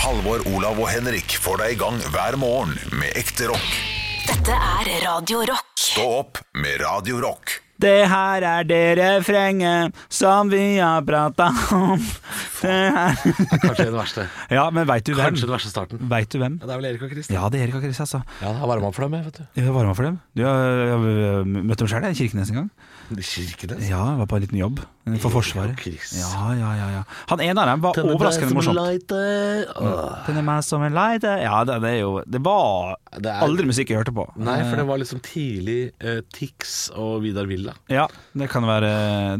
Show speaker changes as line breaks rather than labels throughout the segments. Halvor, Olav og Henrik får deg i gang hver morgen med ekte rock.
Dette er Radio Rock.
Stå opp med Radio Rock.
Det her er det refrenget som vi har prata om. Det her.
Kanskje den verste.
Ja, men veit du hvem?
Kanskje den verste starten.
Veit du hvem?
Ja, det er vel Erik og Kristin.
Ja, det er Erik og Chris, altså.
Ja, jeg har varma opp for dem, jeg, vet du.
Jeg var varma for dem. Du, jeg, jeg, jeg møtte dem sjøl, jeg. i Kirkenes en gang.
De kirkene.
Ja, jeg var på en liten jobb eh, for Forsvaret.
og Chris.
Ja, ja, ja, ja. Han ene av dem var overraskende morsomt.
Mm.
Tenne meg som en leite Ja, det, det er jo Det var
Det er-
aldri musikk jeg hørte på.
Nei, for det var liksom tidlig eh, Tix og Vidar Villa.
Ja, det kan jeg være,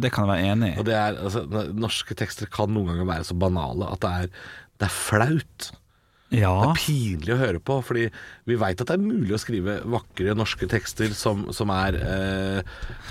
det kan jeg være enig i.
Og det er, altså, n- norske tekster kan noen ganger være så banale at det er, det er flaut.
Ja.
Det er pinlig å høre på, fordi vi veit at det er mulig å skrive vakre norske tekster som, som er eh,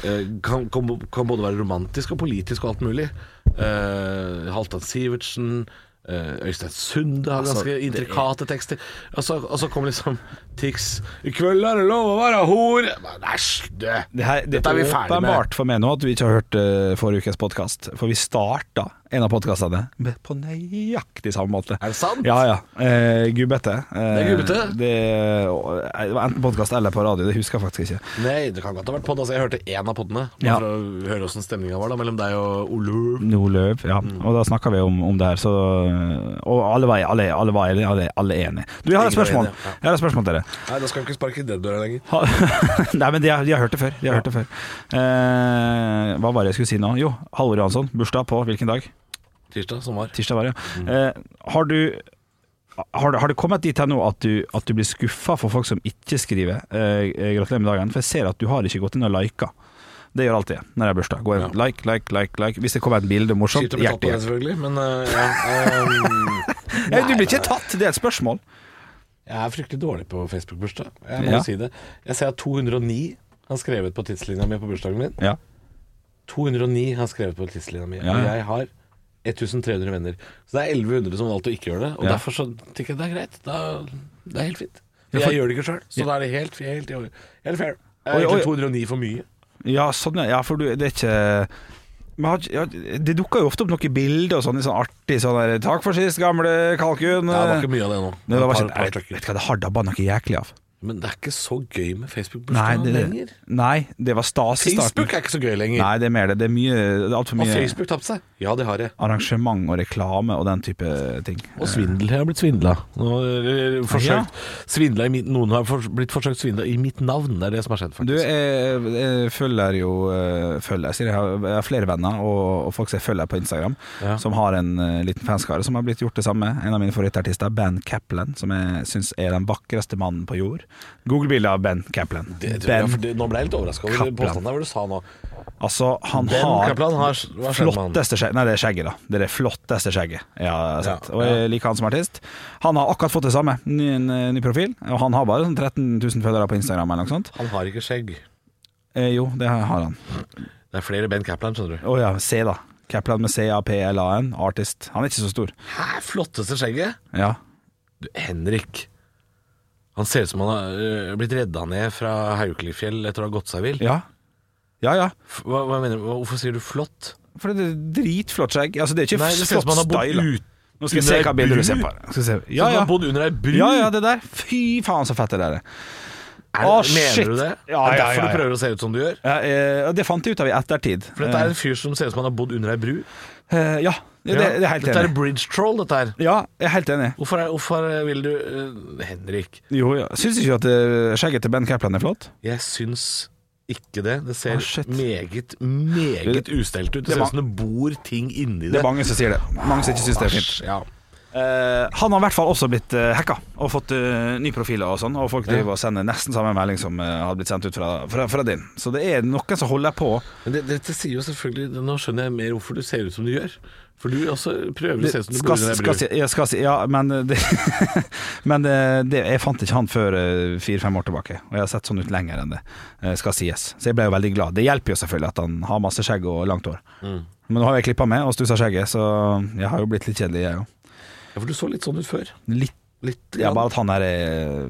eh, kan, kan, kan både være romantisk og politisk og alt mulig. Eh, Halvdan Sivertsen, eh, Øystein Sunde har
Altså,
ganske intrikate tekster. Og så, og så kom liksom Tix I kveld er det lov å være hor! Men Æsj, det,
Det her, det
dette er vi ferdig med.
åpenbart for meg nå at du ikke har hørt eh, forrige ukes podkast. For vi starta en av podkastene med- på nøyaktig samme måte.
Er det sant?
Ja, ja. Eh, gubbete. Eh,
Det er gubbete?
Det, eh, det var enten podkast eller på radio, det husker jeg faktisk ikke.
Nei, det kan godt ha vært podd. Altså, jeg hørte én av poddene. Bare
Ja.
For å høre åssen stemninga var da mellom deg og Olur.
Nordløv, ja. Mm. Og da snakka vi om, om det her, så Og alle var, alle, alle var enige. Alle, alle er enige. Du, jeg har et
Ingen var
spørsmål.
enige, ja.
Jeg har et spørsmål til dere.
Nei, da skal vi ikke sparke i den døra lenger.
Ha- Nei, men de har, de har hørt det før. De har hørt det før. Eh, hva var det jeg skulle si nå? Jo, Halvor Johansson. Bursdag på hvilken dag?
Tirsdag som var.
Tirsdag var det, ja. Eh, har, du, har, det- har det kommet dit her nå at du, at du blir skuffa for folk som ikke skriver eh, eh, 'gratulerer med dagen'? For jeg ser at du har ikke gått inn og lika. Det gjør alltid jeg når det er bursdag. Gå inn, Like, like, like, like. Hvis det kommer et bilde morsomt,
Kjipt å bli tatt
hjerte,
på det,
hjerte.
selvfølgelig, men eh, ja, ehm,
Nei, Eh, du blir ikke tatt, det er et spørsmål.
Jeg er fryktelig dårlig på Facebook-bursdag. Jeg må
Ja.
jo si det. Jeg ser at 209 har skrevet på tidslinja mi på bursdagen min.
Ja.
209 har skrevet på tidslinja mi.
Ja,
Og
ja.
jeg har 1300 venner. Så det er 1100 som har valgt å ikke gjøre det. Og
Ja.
derfor så tenker jeg det er greit. Da, det er helt fint.
Ja,
For
for-
jeg gjør det ikke sjøl, så da er det helt, helt, helt, fair. Jeg
Oi,
er
oi.
egentlig 209 for mye.
Ja, sånn, ja. ja, for du, det er ikke men har ikke- ja, det dukker jo ofte opp noen bilder og sånn, i sånn artig sånn der 'Takk for sist, gamle kalkun'.
Ja, det var ikke mye av det nå.
Nei, det var
Et
ikke-
par- par
jeg vet,
stykker.
vet du hva, det har dabba noe jæklig av.
Men det er ikke så gøy med
Nei,
Facebook-bursdag
det,
lenger.
nei, det var stas i starten.
Facebook er ikke så gøy lenger.
Nei, det er mer det. Det er mye det er altfor
Har
mye
Facebook tapt seg? Ja, det har jeg.
arrangement og reklame og den type ting.
Og svindel. Jeg har blitt svindla.
Ja.
Svindla i mitt, noen har for, blitt forsøkt svindla i mitt navn. Det er det som har skjedd,
Du,
faktisk.
jeg, jeg følger jo eh, Følger, jeg sier jeg har, jeg har flere venner og, og folk som jeg følger på Instagram,
Ja.
som har en eh, liten fanskare som har blitt gjort det samme. En av mine favorittartister, Ben Caplan, som jeg syns er den vakreste mannen på jord. Google-bildet av Ben Caplan.
Det, det, ja,
Ben,
for det, nå ble jeg litt overraska over
Kaplan.
påstanden der, hva du sa nå.
altså, han
Ben
har
Kaplan har hva skjedde med han?
Flotteste skjegg Nei, det er skjegget, da. Det er det flotteste skjegget jeg har sett.
Ja,
Og
ja.
jeg liker han som artist. Han har akkurat fått det samme. Ny, ny, ny profil. Og han har bare sånn 13 000 følgere på Instagram eller noe sånt.
Han har ikke skjegg.
Eh, jo, det har han.
Det er flere Ben Kaplan, skjønner du.
Å ja, C, da. Kaplan med C-A-P-L-A-N. Artist. Han er ikke så stor.
Hæ, flotteste skjegget?
Ja.
Du, Henrik. Han ser ut som han har øh, blitt redda ned fra Haukelifjell etter å ha gått seg vill.
Ja, ja. ja.
F- Hva, hva mener du? Hva- Hvorfor sier du flott?
For det er dritflott skjegg. Altså, det er ikke
Nei, det ser ut som han har
flott
bodd
style. da.
ut
Nå skal jeg se
under
hva
ei
bildet du
bru.
ser på. her. Skal jeg se.
Ja,
Ja, ja.
Bodd under ei bru.
Ja, ja, det der. Fy faen, så fett det der er.
Er,
Å,
mener
shit.
du det?
Ja,
er det
ja, ja,
derfor
ja.
du prøver å se ut som du gjør?
Ja, eh, og det fant jeg ut av i ettertid.
For dette er en fyr som ser ut som han har bodd under ei bru.
Eh, Mm. ja, det, det, det er helt
dette er
enig.
bridge troll, dette her.
Ja, jeg er helt enig.
Hvorfor, er, hvorfor vil du eh, Henrik,
Jo, ja. Syns ikke du at eh, skjegget til Ben Kaplan er flott?
jeg syns ikke det. Det ser
Å, Ah, shit.
meget, meget ustelt ut.
det
Det ser
var-
ut som det bor ting inni
Det
det.
er mange som sier det. Mange som ikke syns det er fint.
Æsj, ja.
Eh, han har i hvert fall også blitt eh, hacka og fått eh, nye profiler og sånn, og folk driver og sender nesten samme melding som eh, hadde blitt sendt ut fra, fra, fra din. Så det er noen som holder på.
Men det, dette sier jo selvfølgelig Nå skjønner jeg mer hvorfor du ser ut som du gjør. For du også prøver å se ut som du
Skal,
bor under ei
skal,
bru.
si- ja, skal, si- ja, men, eh, det, men eh, det, jeg fant ikke han før eh, fire-fem år tilbake, og jeg har sett sånn ut lenger enn det, eh, skal sies. Så jeg ble jo veldig glad. Det hjelper jo selvfølgelig at han har masse skjegg og langt hår.
Mm.
Men nå har jeg klippa meg og stussa skjegget, så jeg har jo blitt litt kjedelig, jeg òg.
Ja, for du så litt sånn ut før.
Litt
Litt.
Ja,
grann.
bare at han er eh,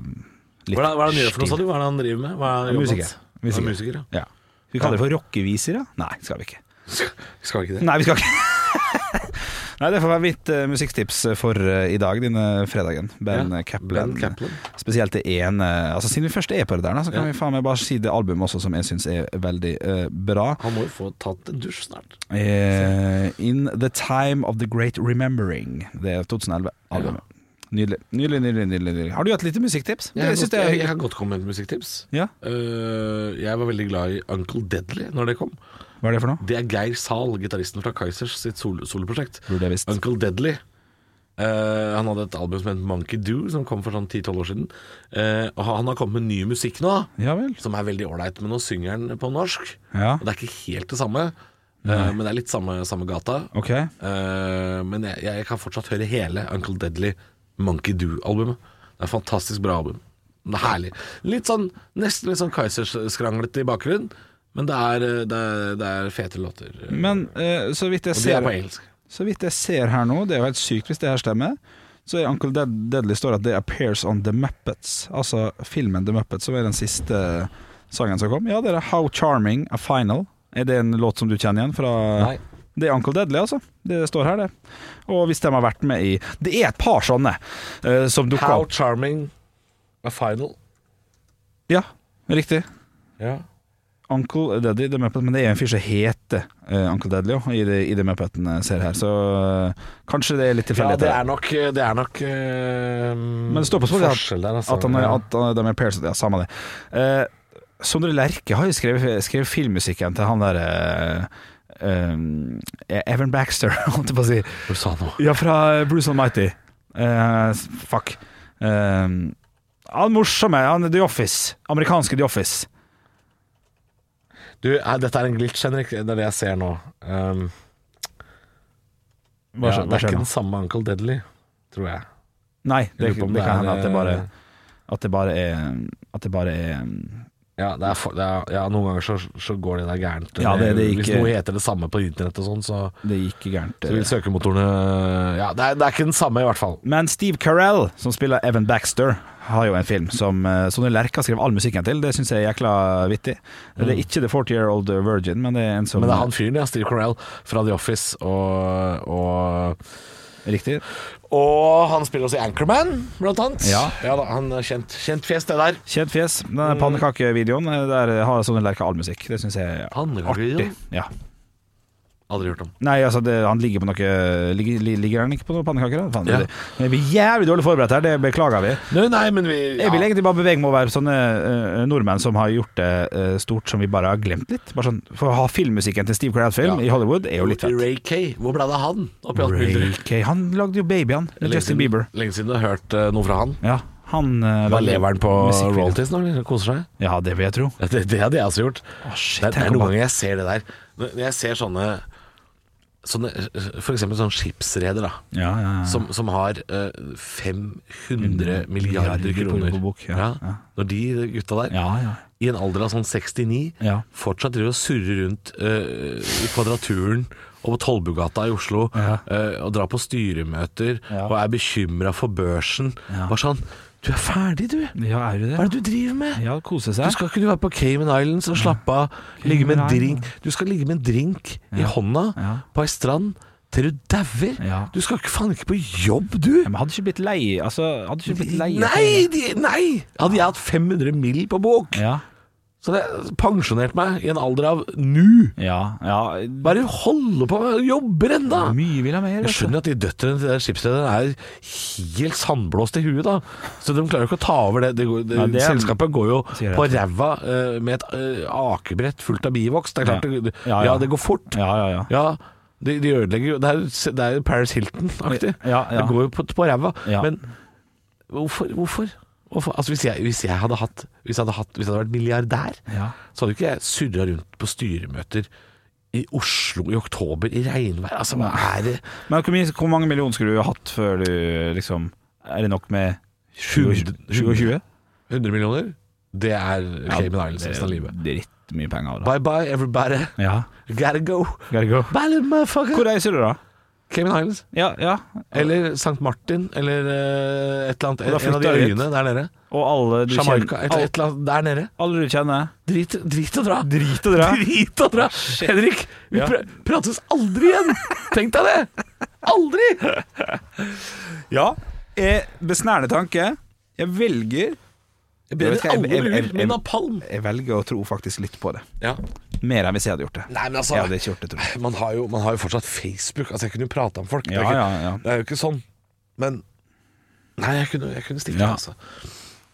litt
hva er det hva er det han gjør for
stiv.
noe, sa du? Hva er det han driver med? Hva er
Han er
jobben
musiker.
hans? Han er musiker, ja.
Ja. Skal vi kalle det for rockeviser, da? Nei, skal vi ikke.
Skal vi ikke det?
Nei, vi skal ikke. Nei, det får være mitt eh, musikktips for eh, i dag, denne fredagen. Ben
Ja,
eh, Kaplan.
Ben Kaplan.
Spesielt det ene altså Siden vi først er på det der, da, så kan
Ja.
vi faen meg bare si det albumet også, som jeg syns er veldig eh, bra.
Han må jo få tatt en dusj snart.
Eh, In The Time of the Great Remembering. Det er 2011-albumet. Nydelig. Nydelig, nydelig, nydelig, nydelig. Har du hatt lite musikktips?
Jeg,
det syns
jeg,
jeg er
jeg,
hyggelig.
kan godt komme med et musikktips.
Ja,
Eh, jeg var veldig glad i Uncle Deadly når det kom.
Hva er det for noe?
Det er Geir Zahl, gitaristen fra Kaizers sitt sol- soloprosjekt.
Burde jeg visst.
Uncle Deadly. Eh, han hadde et album som het Monkey Do, som kom for sånn 10-12 år siden. Eh, og han har kommet med ny musikk nå,
Ja vel.
som er veldig ålreit, men nå synger han på norsk.
Ja.
Og det er ikke helt det samme, eh, men det er litt samme, samme gata.
Ok.
Eh, men jeg, jeg kan fortsatt høre hele Uncle Deadly Monkey Do-albumet. Det er et fantastisk bra album. Det er herlig. Litt sånn, nesten litt sånn Kaizers-skranglete i bakgrunnen, men det er, eh, det er, det er fete låter.
Men eh, så vidt jeg
Og de er
ser
på engelsk.
Så vidt jeg ser her nå, det er jo helt sykt hvis det her stemmer, så er Uncle Dead Deadly står at det appears on The Muppets, altså filmen The Muppets, som er den siste sangen som kom. Ja, det er How Charming A Final. Er det en låt som du kjenner igjen fra
Nei.
Det er Uncle Deadly, altså. Det står her, det. Og hvis de har vært med i Det er et par sånne eh, som dukker
How
opp.
charming a final.
Ja, riktig.
Ja.
Uncle Daddy, The Muppet, men det er en fyr som heter eh, Uncle Deadly også, i, det- i The Muppeten jeg ser her, så eh, kanskje det er litt tilfeldig.
det er nok, det er nok eh,
Men det står på Spotify
forskjell der, altså.
at, han er, at han- de er pairs, ja, samme det. Eh, Sondre Lerche har jo skrevet, skrevet filmmusikken til han der eh, eh, Evan Baxter, holdt jeg på å si.
Hva sa han nå?
Ja, fra Bruce Almighty. Eh, fuck. Eh, han morsomme, han er The Office. Amerikanske The Office.
Du, eh, dette er en glitch, Henrik. Det er det jeg ser nå. Um,
Hva
ja,
skjer-
det
hva
er
skjer
ikke
nå?
den samme Uncle Deadly, tror jeg.
Nei, det,
Jeg lurer på om
det
det
kan
er,
hende at det
eh,
bare At det bare er At det bare er
Ja, det er for, det er, ja noen ganger så, så går det der gærent.
Ja, det- det gikk-
Hvis noe heter det samme på internett og sånn, så,
Det gikk gærent.
så vil søkemotorene Ja, det er, det er ikke den samme, i hvert fall.
Men Steve Carell, som spiller Evan Baxter, har jo en film som eh, Sondre Lerche har skrevet all musikken til. Det syns jeg er jækla vittig. Det er ikke The 40 Year Old Virgin, men det er en som
Mm. Men det er han fyren, ja. Steve Carell fra The Office og, og
Riktig.
Og han spiller også i Anchorman, blant annet.
Ja.
da, han er kjent, kjent fjes, det der.
Kjent fjes.
Mm.
Denne pannekakevideoen, eh, der har Sondre Lerche all musikk. Det syns jeg er artig.
Pannekakevideoen?
Ja.
Aldri hørt om.
Nei, altså, det, han ligger på noe Ligger, li- ligger han ikke på noen pannekaker? Da? Faen,
Ja.
det- Men vi er jævlig dårlig forberedt her, det beklager vi.
Nei, nei, men vi ja.
Jeg vil egentlig bare bevege meg over sånne eh, nordmenn som har gjort det eh, stort, som vi bare har glemt litt. Bare sånn, for å ha filmmusikken til Steve Carell-film
Ja.
i Hollywood er jo litt fett.
Ray Kay, hvor ble det av han? Oppi alt
Ray
mylderet.
Kay. Han lagde jo 'Babyen' med
Lenge
Justin
siden-
Bieber.
Lenge siden du har hørt eh, noe fra han.
Ja, han eh,
Da
lagde
lever han på
musikkvideo.
royalties nå, eller? Koser seg?
Ja, det vil jeg tro.
Ja, Det, det hadde jeg også gjort.
Å, shit,
det, er- det
tenk
er
om
noen
han-
ganger jeg ser det der. Når når jeg ser sånne, sånne For eksempel sånn skipsreder, da.
Ja, ja, ja.
Som, som har eh, 500
milliarder
milliarder kroner.
på bok, ja, ja.
Når de gutta der,
ja, ja.
i en alder av sånn 69,
Ja.
fortsatt driver og surrer rundt eh, i Kvadraturen og på Tollbugata i Oslo
Ja.
eh, og drar på styremøter
Ja.
og er bekymra for børsen.
Ja.
Bare sånn Du er ferdig, du!
ja, er du det?
Hva er det du driver med?
Ja, kose
Du
seg.
skal ikke du være på Cayman Islands og slappe av? Ligge med en
Island.
drink Du skal ligge med en drink i hånda
Ja.
på ei strand til du dauer.
Ja.
Du skal ikke faen ikke på jobb, du!
Ja, men hadde ikke blitt lei Altså, hadde ikke blitt lei
Nei, de, nei! Hadde jeg hatt 500 mill. på bok,
Ja,
så hadde jeg pensjonert meg i en alder av nu.
ja, ja.
Hva er det du holder på med? Jobber enda!
Mye vil ha mer.
Jeg skjønner at de døtrene til den skipsrederen er helt sandblåst i huet, da. Så de klarer jo ikke å ta over det. det, går, det,
Nei, det er-
selskapet går jo
Sier jeg
på ræva eh, med et eh, akebrett fullt av bivoks. Det er klart,
Ja.
det- det, ja,
Ja, ja.
det går fort.
Ja, ja, ja.
Ja, de, de ødelegger jo Det er, jo- det er jo Paris Hilton-aktig.
Ja, ja.
Det går jo på, på ræva.
Ja.
Men hvorfor? hvorfor? Hvorfor? Altså hvis, jeg, hvis jeg hadde hatt Hvis jeg hadde, hatt, hvis jeg hadde vært milliardær,
Ja.
så hadde jo ikke jeg surra rundt på styremøter i Oslo i oktober i regnvær. Altså, hva er det?
Men hvor, mye, hvor mange millioner skulle du hatt før du liksom Er det nok med 27?
100
27?
100 millioner? Det er Cayman Islands
det
resten av livet.
er drittmye penger. Da.
Bye bye, everybody.
Ja.
Gotta go.
Gotta go.
Bye, little motherfucker.
Hvor reiser du, da?
Cayman Islands.
Ja, ja.
Eller St. Martin, eller eh, et eller annet.
da
En av de
flytter jeg
øyene der nede.
Og alle du
Jamaica, et,
kjenner
et eller annet der nede.
Alle du kjenner?
Drit, drit og dra.
Drit og dra. Ah,
Drit og dra. Henrik, vi
Ja.
pr prates aldri igjen! Tenk deg det! Aldri!
Ja. Eh, besnærende tanke. Jeg velger
Jeg
Jeg
brenner
vet ikke, jeg-
alle
jeg- jeg-
bruer
jeg-
med napalm.
Jeg velger å tro faktisk litt på det.
Ja.
Mer enn hvis jeg hadde gjort det.
Nei, men altså-
Jeg hadde ikke gjort det, tror jeg.
Man har, jo, man har jo fortsatt Facebook. Altså, jeg kunne jo prata med folk. det,
Ja,
er ikke,
ja, ja.
det er jo ikke sånn. Men Nei, jeg kunne, jeg kunne stikke,
Ja.
altså.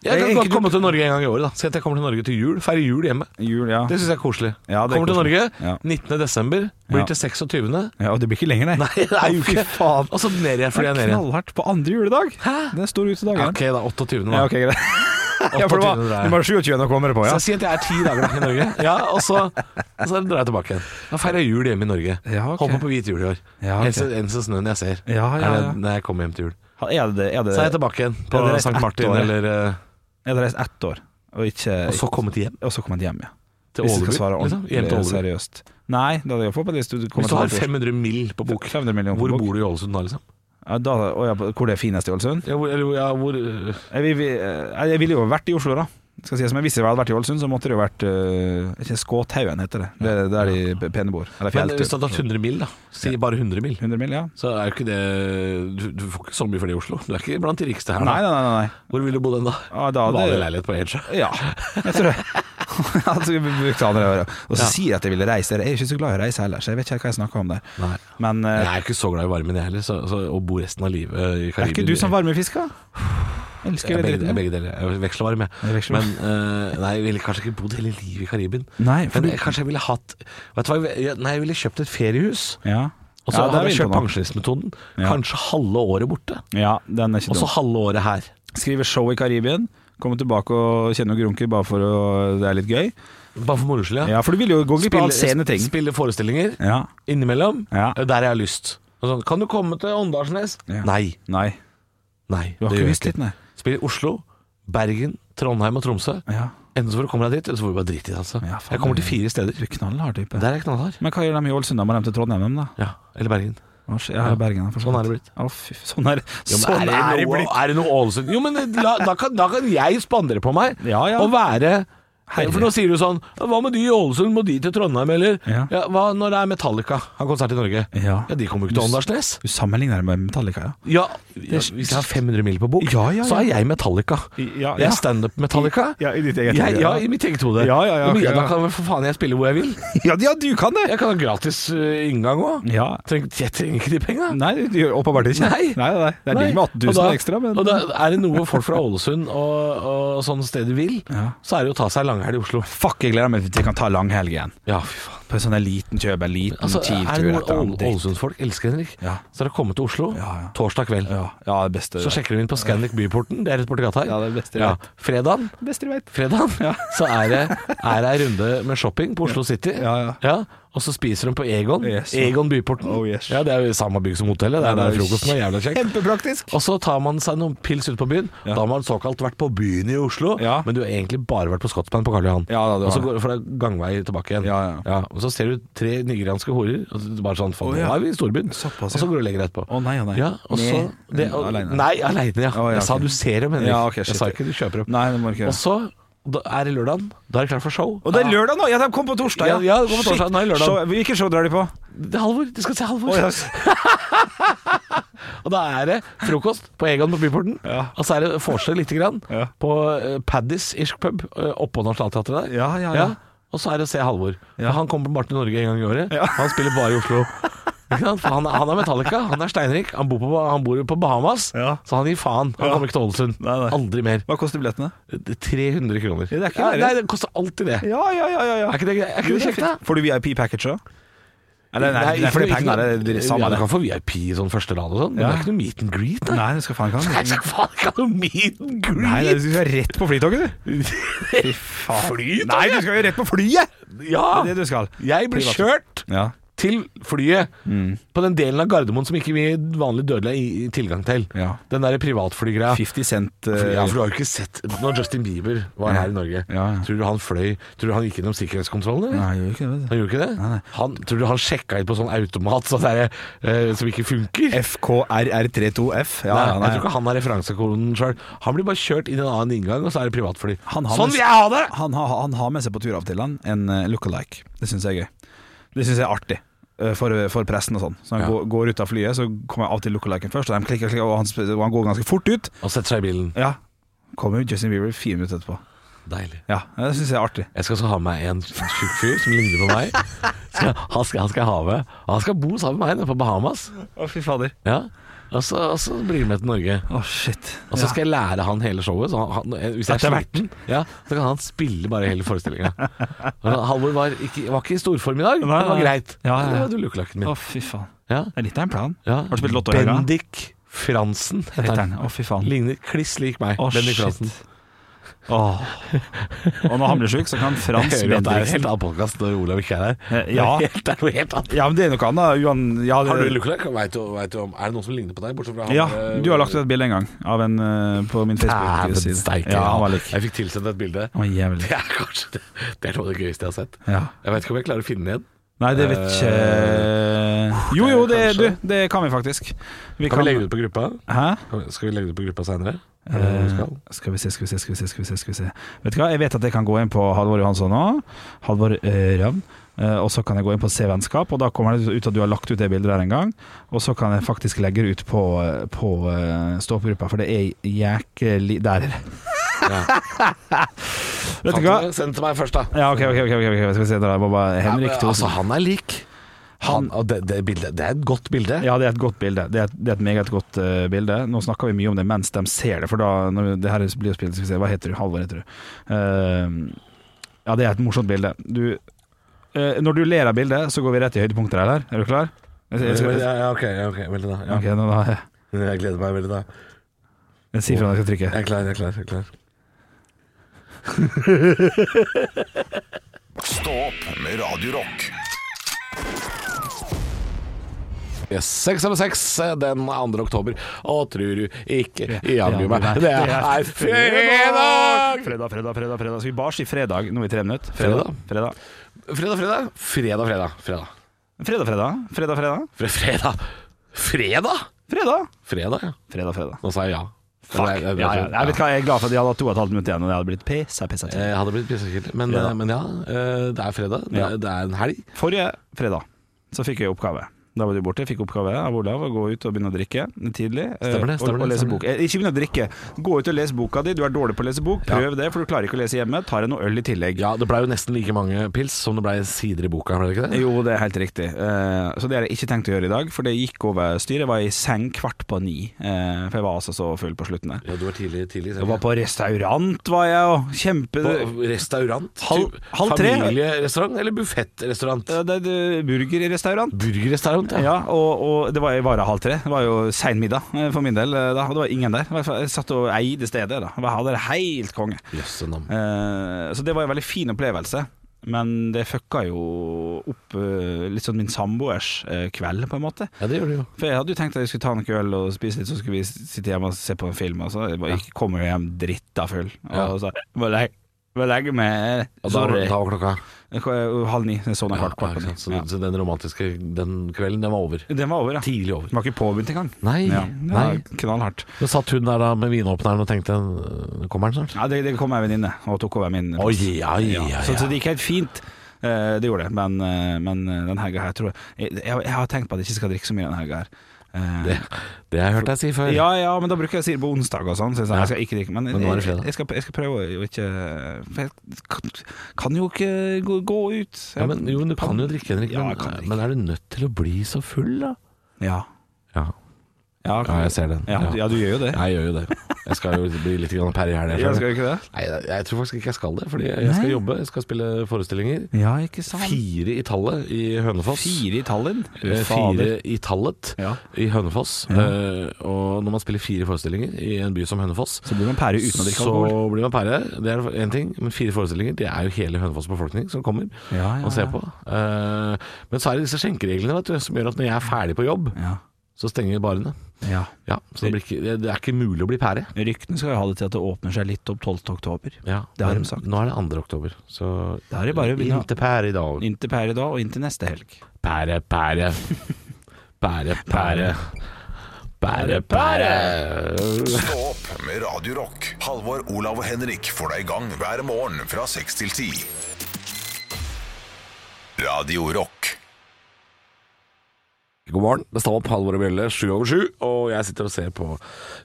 Jeg kan
Jeg-
godt
jeg-
komme til Norge en gang i året. da Si at jeg kommer til Norge til jul. Feire jul hjemme.
Jul, ja.
Det syns jeg er koselig.
Ja, det er
kommer
koselig.
til
Ja.
Norge 19. desember. Blir
Ja.
til 26.
ja, og det blir ikke lenger, nei.
Nei, det er jo
Å, fy
ikke
faen.
Og så ned igjen, fordi jeg er ned igjen.
Knallhardt på andre juledag.
Hæ?
Det er stor ut i
Ja,
dagen.
ok, da. 28. da.
Ja, ok, greit. Ja, for det var,
28 drar jeg.
det var 27 å komme det på,
Så
ja.
jeg sier at jeg er ti dager da i Norge, ja, og så, og så drar jeg tilbake igjen. Da feirer jeg jul hjemme i Norge.
Ja, ok.
Håper på hvit jul i år.
Ja, ok.
Eneste eneste snøen jeg ser,
Ja, ja,
er
ja.
den når jeg kommer hjem til jul.
Er det, er det,
Så er jeg tilbake igjen på
Ja, det er
St.
ett
Martin,
år, ja.
eller eh,
jeg hadde reist ett år, og ikke
Og så kommet hjem?
Og så kom jeg hjem, ja.
Til
Hvis jeg
Åleby,
skal svare
liksom?
ordentlig
Hjem til Åleby.
seriøst. Nei, det hadde jeg fått på hvis du kommer
Hvis du har
til
500 mill. på bok,
500 millioner
hvor
på bok.
bor du i Ålesund da, liksom?
Ja, da, å, ja, hvor det er finest i Ålesund?
Ja, hvor, eller, ja, hvor eh,
Jeg, vil- vil- eh, jeg, jeg ville jo vært i Oslo, da. Skal si, som jeg visste jeg hadde vært i Ålesund, så måtte det jo vært øh, ikke Skåthaugen, heter det. Det er der de p- pene bor. Eller
Men hvis du
fjelltur.
hadde hatt 100 mill., da, si bare 100 mill.,
100 mill., ja?
så er jo ikke det Du, du får ikke så mye for det i Oslo. Du er ikke blant de rikeste her,
Nei,
da.
nei, nei. nei.
Hvor ville du bodd hen da?
Ja, da hadde-
Vanlig leilighet på Edge.
Ja, jeg tror det. At vi brukte andre året. Og så
Ja.
sier jeg at jeg ville reise. Jeg er ikke så glad i å reise heller, så jeg vet ikke hva jeg snakker om der.
Nei.
Men eh,
Jeg er ikke så glad i varmen, jeg heller, så, så, å bo resten av livet eh, i
er
Karibien
ikke du som varmefisker? Elsker jeg
jeg er begge, jeg er
dritten.
begge deler. Jeg veksler varm,
Jeg
jeg.
veksler
Men eh, nei, jeg ville kanskje ikke bodd hele livet i Karibien.
Nei, for
Men
du-
jeg, kanskje jeg ville hatt Vet du hva, jeg, nei, jeg ville kjøpt et feriehus.
Ja.
Og så
ja, der er
hadde
vi inne
jeg
på
kjørt
noe.
Altså, pensjonistmetoden.
Ja.
Kanskje halve året borte,
Ja, den er ikke
og så
dum.
halve året her.
Skrive show i Karibien. Komme tilbake og kjenne noen grunker bare for å, det er litt gøy.
Bare for moro skyld, ja.
Ja, for du vil jo gå glipp av sene ting.
spille forestillinger
Ja.
innimellom,
Ja.
der jeg har lyst. Og Sånn, kan du komme til Åndalsnes?
Ja.
Nei.
Nei.
Nei,
Du har
det
ikke
gjør jeg
lyst dit, nei.
Spille i Oslo, Bergen, Trondheim og Tromsø.
Ja.
Enten så får du komme deg dit, eller så får du bare drite i det. Altså.
Ja, faen,
jeg kommer til
det-
fire steder.
Du er knallhard type.
Der er jeg knallhard.
Men hva gjør de i Ålesund? Da må de til Trondheim, dem, da?
Ja, eller Bergen.
Ja, Bergen. da, for
Sånn er det blitt.
Å, fy, sånn er,
Jo, men
sånn
er, det noe, er det noe Ålesund Jo, men eh, la, da, kan, da kan jeg spandere på meg
Ja, ja.
og være
Herre.
For nå sier du sånn Hva med de i Ålesund? Må de til Trondheim, eller?
Ja.
hva når det er Metallica har konsert i Norge?
Ja.
ja de kommer jo ikke til Åndalsnes.
Du sammenligner det med Metallica, ja.
Ja, ja, hvis jeg har 500 mil på bok,
Ja, ja,
så er
ja.
jeg Metallica.
Ja,
Jeg
ja.
er standup-Metallica.
Ja, i ditt eget
Jeg-
hode,
Ja,
ja.
i mitt eget hode.
Ja, ja, ja,
men
ok,
da
ja.
kan vel for faen jeg spille hvor jeg vil.
Ja, ja, du kan det!
Jeg kan ha gratis eh, inngang òg.
Ja.
Jeg trenger ikke de penga.
Nei, du gjør åpenbart ikke.
Nei.
nei, nei. Det er
Nei,
de med 18 000
og da-
ekstra, men
Og da er det noe folk fra Ålesund og, og sånne steder vil,
Ja.
så er det jo å ta seg en langhelg i Oslo.
Fuck, jeg gleder meg til at jeg kan ta langhelg igjen.
Ja, fy faen.
På en sånn der liten kjøp, en liten
Altså, er det
Kiel-tur.
noe
et eller annet
Ål-
dritt.
Ålesundsfolk elsker, Henrik,
Ja.
så er det å komme til Oslo
Ja, ja.
torsdag kveld.
Ja, ja, det beste
Så sjekker de inn på Scandic Byporten, det er rett borti gata her.
Ja, det er det beste jeg vet.
Fredagen,
beste du vet.
fredagen så er det er det ei runde med shopping på Oslo City.
Ja, ja.
og så spiser de på Egon.
Yes.
Egon Byporten.
Oh, yes.
Ja, Det er jo i samme bygg som hotellet. Det er
Ja,
der
det er jo
frokosten er jævla kjekk.
Kjempepraktisk!
Og så tar man seg noen pils ute på byen.
Ja.
Da har man såkalt vært på byen i Oslo,
Ja.
men du har egentlig bare vært på Scotsman på Karl Johan.
Ja, da, du
og så
har
går, for det er gangvei tilbake igjen.
Ja, ja.
og så ser du tre nigerianske horer, og så bare sånn Faen,
Å, ja.
nå er vi i storbyen.
Såpass,
og så
ja.
går du lenger etterpå.
Å, nei, å, nei.
Ja, og så,
Med-
det, og,
Alene.
Nei, aleine, ja.
Å, ja,
Jeg sa
ok.
du ser dem, Henrik.
Ja, ok, shit.
jeg sa ikke du kjøper dem.
Nei, det må du ikke
og
gjøre.
så da er det lørdagen. Da er det klart for show.
Og det er lørdag nå! Ja, de kom på torsdag!
Ja, ja, de kom på torsdag.
Shit.
Nei, lørdag.
Show- Hvilke show drar de på?
Det er Halvor. De skal se Halvor.
Å, ja.
Og da er det frokost på Egon på Byporten.
Ja.
Og så er det forskjell lite grann
Ja.
på uh, Paddys irsk pub eh, oppå Nationaltheatret der.
Ja, ja, ja.
Og så er det å se Halvor.
Ja.
For Han kommer bare til Norge en gang i året. Han spiller bare i Oslo. Ikke sant? For han, han er Metallica, han er steinrik, han bor på, han bor på Bahamas,
Ja.
så han gir faen. Han
Ja.
kommer ikke til Ålesund.
Nei, nei.
Aldri mer.
Hva koster billettene?
300 kroner.
Ja, det er ikke verre.
nei, det koster alltid det.
Ja, ja, ja, ja.
Er ikke det, er ikke
Jo, det
det
er
kjekt, da?
fint. Får du VIP-package òg? Nei, nei, nei,
ikke
for det er
noe-
penger. Det er det samme.
Ja, du
det.
kan få VIP i sånn første rad og sånn, men
Ja.
det er ikke noe meet and greet. Da.
Nei, du skal faen ikke
Nei,
ha
så faen ikke noe meet and greet!
Nei, du skal rett på flytoget, du. Fy faen.
Flytoget?
Nei, du skal jo rett på flyet!
ja!
Det er det du skal.
Jeg ble
Privat.
kjørt
Ja.
til flyet
Mm.
på den delen av Gardermoen som ikke vi vanlige dødelige har i- i tilgang til.
Ja.
Den derre privatflygreia.
50 cent eh,
Ja, for du har jo ikke sett Når Justin Bieber var
Ja.
her i Norge,
Ja, ja.
tror du han fløy Tror du han gikk gjennom sikkerhetskontrollen? Eller?
Nei, gjør ikke det.
Han gjorde ikke det?
Nei, nei.
Han, tror du han sjekka inn på sånn automat sånn der, eh, som ikke funker?
FKRR32F. Ja, ja,
nei,
nei.
Jeg tror ikke han har referansekoden sjøl. Han blir bare kjørt inn i en annen inngang, og så er det privatfly.
Han har
Sånn
med-
vil jeg ha det!
Han, har, han har med seg på tur av til han en eh, look-alike. Det syns jeg er gøy. Det syns jeg er artig. eh, for, for pressen og sånn. Så han
Ja.
går, går ut av flyet, så kommer av til lookaliken først, og de klikker, klikker, og han, sp- og han går ganske fort ut.
Og setter seg i bilen.
Ja. Kommer jo Justin Bieber fire minutter etterpå.
Deilig.
Ja, det syns jeg er artig.
Jeg skal også ha med en tjukk fyr som ligner på meg. Skal, han, skal, han skal jeg ha med. Han skal bo sammen med meg nede på Bahamas.
Å, fy fader.
Ja. Og så, og så blir han med til Norge.
Å, shit.
Og så skal jeg lære han hele showet. Så han, han, hvis jeg
Etter
er
hvert.
sliten, ja, så kan han spille bare hele forestillinga. Halvor var ikke, var ikke i storform i dag, men det var
nei.
greit.
Ja, ja, ja.
Det var du lukkelakken
Å,
min.
fy faen.
Ja,
Det er litt av en plan.
ja.
Har du spilt Lotto i helga?
Bendik Fransen
Heter
heter han.
den. Å, fy faen.
Ligner kliss lik meg.
Å,
Bendik
shit.
Fransen.
Åh. Og når han blir sjuk, så kan
Jeg
Frans
hører at det er en
Bendriksen
helt annen podkast når Olav ikke er her.
Eh, ja.
Det er helt- Det er noe helt annet.
Ja, men det er noe annet. Johan, ja, det-
Har du lookalike? Vet du, vet du om, er det noen som ligner på deg? Bortsett fra han
Ja,
eh,
du har lagt ut et bilde en gang av en eh, på min
Dæven
Facebook-side.
steike.
Ja, han var lik.
jeg fikk tilsendt et bilde.
Han var jævlig.
Det er kanskje det, det er noe av det gøyeste jeg har sett.
Ja.
Jeg vet ikke om jeg klarer å finne den igjen.
Nei, det vet ikke
Eh,
Jo, jo, det, du, det kan vi faktisk. Vi
Kan vi legge det ut på gruppa?
Hæ?
Kan- Skal vi legge det ut på gruppa seinere?
Eh, skal vi se, skal vi se, skal vi se, skal vi se, skal vi se. Vet du hva, jeg vet at jeg kan gå inn på Halvor Johansson nå. Halvor eh, Ravn. Eh, og så kan jeg gå inn på Se vennskap, og da kommer det ut at du har lagt ut det bildet der en gang. Og så kan jeg faktisk legge det ut på, eh, på eh, ståoppgruppa, for det er jæklig Der er det. vet du hva?
Send til meg først, da.
Ja, ok, ok, ok, ok, ok, skal vi se der, jeg må bare
Ja, men,
Henrik
altså,
Thosen.
han er lik. Han, og det, det, bildet, det er et godt bilde.
Ja, det er et godt bilde. Det er et, det er et meget godt eh, bilde. Nå snakker vi mye om det mens de ser det, for da når det her blir jo spilt Skal vi se, hva heter du? Halvor heter du. Eh, ja, det er et morsomt bilde. Du eh, Når du ler av bildet, så går vi rett i høydepunkter, eller? Er du klar? Jeg, jeg,
Ja,
skal-
ja, ok, ja, ok, veldig da. Ja.
ok, nå da jeg,
Jeg gleder meg veldig da.
jeg sier fra når jeg skal trykke.
Jeg er klar, jeg er klar. Jeg er klar.
Stå opp med Radio Rock.
Yes, Seks over seks eh, den 2. oktober. Og tror du ikke jammen
Ja,
meg Det er fredag!
Fredag, fredag, fredag. fredag. Skal vi bare si fredag nå i tre minutter? Fredag,
Fredag, fredag. Fredag, fredag. Fredag.
fredag. Fredag, fredag. Fredag,
Fre- Fredag. Fredag?
fredag.
Fredag, ja.
fredag, fredag.
Nå sa jeg ja.
Fuck.
Jeg, jeg, jeg,
ja, ja. Jeg vet hva, jeg er glad for at jeg hadde hatt to og et halvt minutt igjen, og jeg hadde blitt pissa, pissa.
Eh, Jeg hadde blitt pissekilt. Men,
Ja.
eh, men ja, eh, det er fredag. Det,
Ja.
er- det er en helg.
Forrige fredag så fikk jeg oppgave. Da var du borte. Jeg fikk oppgave av Olav å gå ut og begynne å drikke tidlig. eh,
Stemmer det,
og-
stemmer det,
og lese
stemmer
bok. Eh, Ikke begynne å drikke. Gå ut og les boka di. Du er dårlig på å lese bok. Prøv det, for du klarer ikke å lese hjemme. Tar deg noe øl i tillegg.
Ja, Det blei jo nesten like mange pils som det blei sider i boka, ble det ikke det?
Jo, det er helt riktig. Eh, så det har jeg ikke tenkt å gjøre i dag, for det gikk over styret. Jeg var i seng kvart på ni, eh, for jeg var altså så full på slutten der.
Ja, du var tidlig, tidlig
Jeg var på restaurant, var jeg, og kjempe...
på restaurant.
Halv-
Typ
halv tre.
Familierestaurant eller buffettrestaurant?
Eh, det- det- Burgerrestaurant.
Burgerrestaurant, ja.
Ja, og, og det var jeg var av halv tre. Det var jo sein middag eh, for min del. eh, Da. og Det var ingen der. I hvert fall, Jeg satt og eide stedet. da Jeg hadde det helt konge.
Jøsse navn.
Eh, så det var en veldig fin opplevelse. Men det fucka jo opp eh, litt sånn min samboers eh, kveld, på en måte.
Ja, det gjør det jo.
For jeg hadde jo tenkt at vi skulle ta noe øl og spise litt, så skulle vi sitte hjemme og se på en film. Og så jeg bare- jeg kom jo hjem dritta full.
Ja.
Og så må legge, må legge meg
Og da,
Sorry.
da var klokka
Eh, Halv ni. Jeg sovna
ja,
kvart, kvart på
ikke
ni.
sant? sånn, Så,
Ja.
så den romantiske den kvelden, den var over.
Den var over, ja.
Tidlig over.
Den var ikke påbegynt engang.
Nei,
Ja, det
nei.
var knallhardt.
Men satt hun der da med vinåpneren og tenkte "Øh, Kommer den snart?
Ja, det, det kom ei venninne og tok over min.
Oi, ja, ja, ja.
Så, så det gikk helt fint. Eh, det gjorde det, men, eh, men eh, den helga her tror jeg, jeg Jeg har tenkt på at jeg ikke skal drikke så mye den helga her. Eh,
Det, det har jeg hørt deg si før.
ja, ja, men da bruker jeg å si det på onsdag og sånn. Så jeg, sa,
Ja.
jeg skal ikke drikke Men,
Men nå er det
jeg,
fredag.
jeg, skal, jeg skal prøve å ikke For jeg kan, kan jo ikke gå, gå ut.
Ja, men, jo, men du kan jo drikke, Henrik.
Ja,
men,
jeg kan drikke.
men er du nødt til å bli så full, da?
Ja,
Ja,
ja, kan-
jeg ser den.
Ja, du- ja, du gjør jo det.
Jeg gjør jo det. Jeg skal jo bli litt grann per i helga.
Jeg skal jo ikke det?
Nei, jeg, jeg tror faktisk ikke jeg skal det. Fordi jeg skal
Nei.
jobbe, jeg skal spille forestillinger.
Ja, ikke sant?
Fire i tallet i Hønefoss.
Fire i Tallinn?
Eh, Fire i tallet
Ja.
i Hønefoss. Eh, og når man spiller fire forestillinger i en by som Hønefoss,
Så blir man pære uten å drikke
så
alkohol.
blir man pære. Det er én ting. Men fire forestillinger, det er jo hele Hønefoss' befolkning som kommer
Ja, ja,
og ser
ja.
på. Eh, men så er det disse skjenkereglene vet du, som gjør at når jeg er ferdig på jobb,
Ja.
så stenger barene.
ja.
Ja, så det, blir ikke, det, det er ikke mulig å bli pære.
Ryktene skal jo ha det til at det åpner seg litt opp 12. oktober.
Ja,
Det har
men
de sagt.
Nå er det 2. oktober, så
Da er det bare å begynne.
Inntil pære i dag.
Inntil pære da, og inntil neste helg.
Pære, pære. Pære, pære. Pære, pære.
Stå opp med Radio Rock. Halvor, Olav og Henrik får deg i gang hver morgen fra 6 til 10. Radio Rock.
God morgen. Det står opp halvor og bjelle, sju over sju. Og jeg sitter og ser på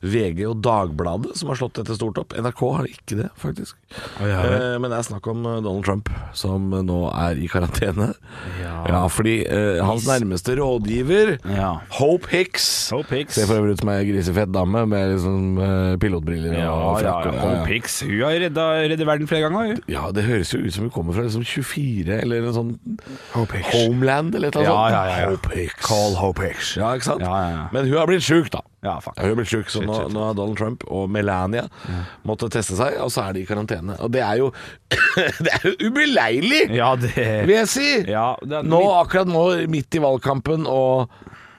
VG og Dagbladet, som har slått dette stort opp. NRK har ikke det, faktisk.
ja, vel.
Eh, men det er snakk om eh, Donald Trump, som eh, nå er i karantene.
Ja.
fordi eh, hans nærmeste rådgiver,
Ja.
Hope Hicks
Hope Hicks.
Ser for øvrig ut som ei grisefett dame med liksom, eh, pilotbriller
Ja,
og
ja,
frakk. og-
ja. Hope Hicks, hun har redda, reddet verden flere ganger. Hun.
Ja, det høres jo ut som hun kommer fra liksom 24 eller en sånn
Hope Hicks.
Homeland eller et eller
Ja,
annet.
ja, ja, ja.
Hope Hicks.
Hope Hicks.
Ja, ikke sant?
Ja, ja, ja.
Men hun har blitt sjuk, da.
Ja, fuck.
Hun har blitt sjuk, så
Shit,
nå,
shit, shit.
nå har Donald Trump og Melania måtte teste seg, og så er de i karantene. Og det er jo Det er jo ubeleilig,
Ja, det
vil jeg si!
ja, det er
Nå, akkurat nå, midt i valgkampen, og,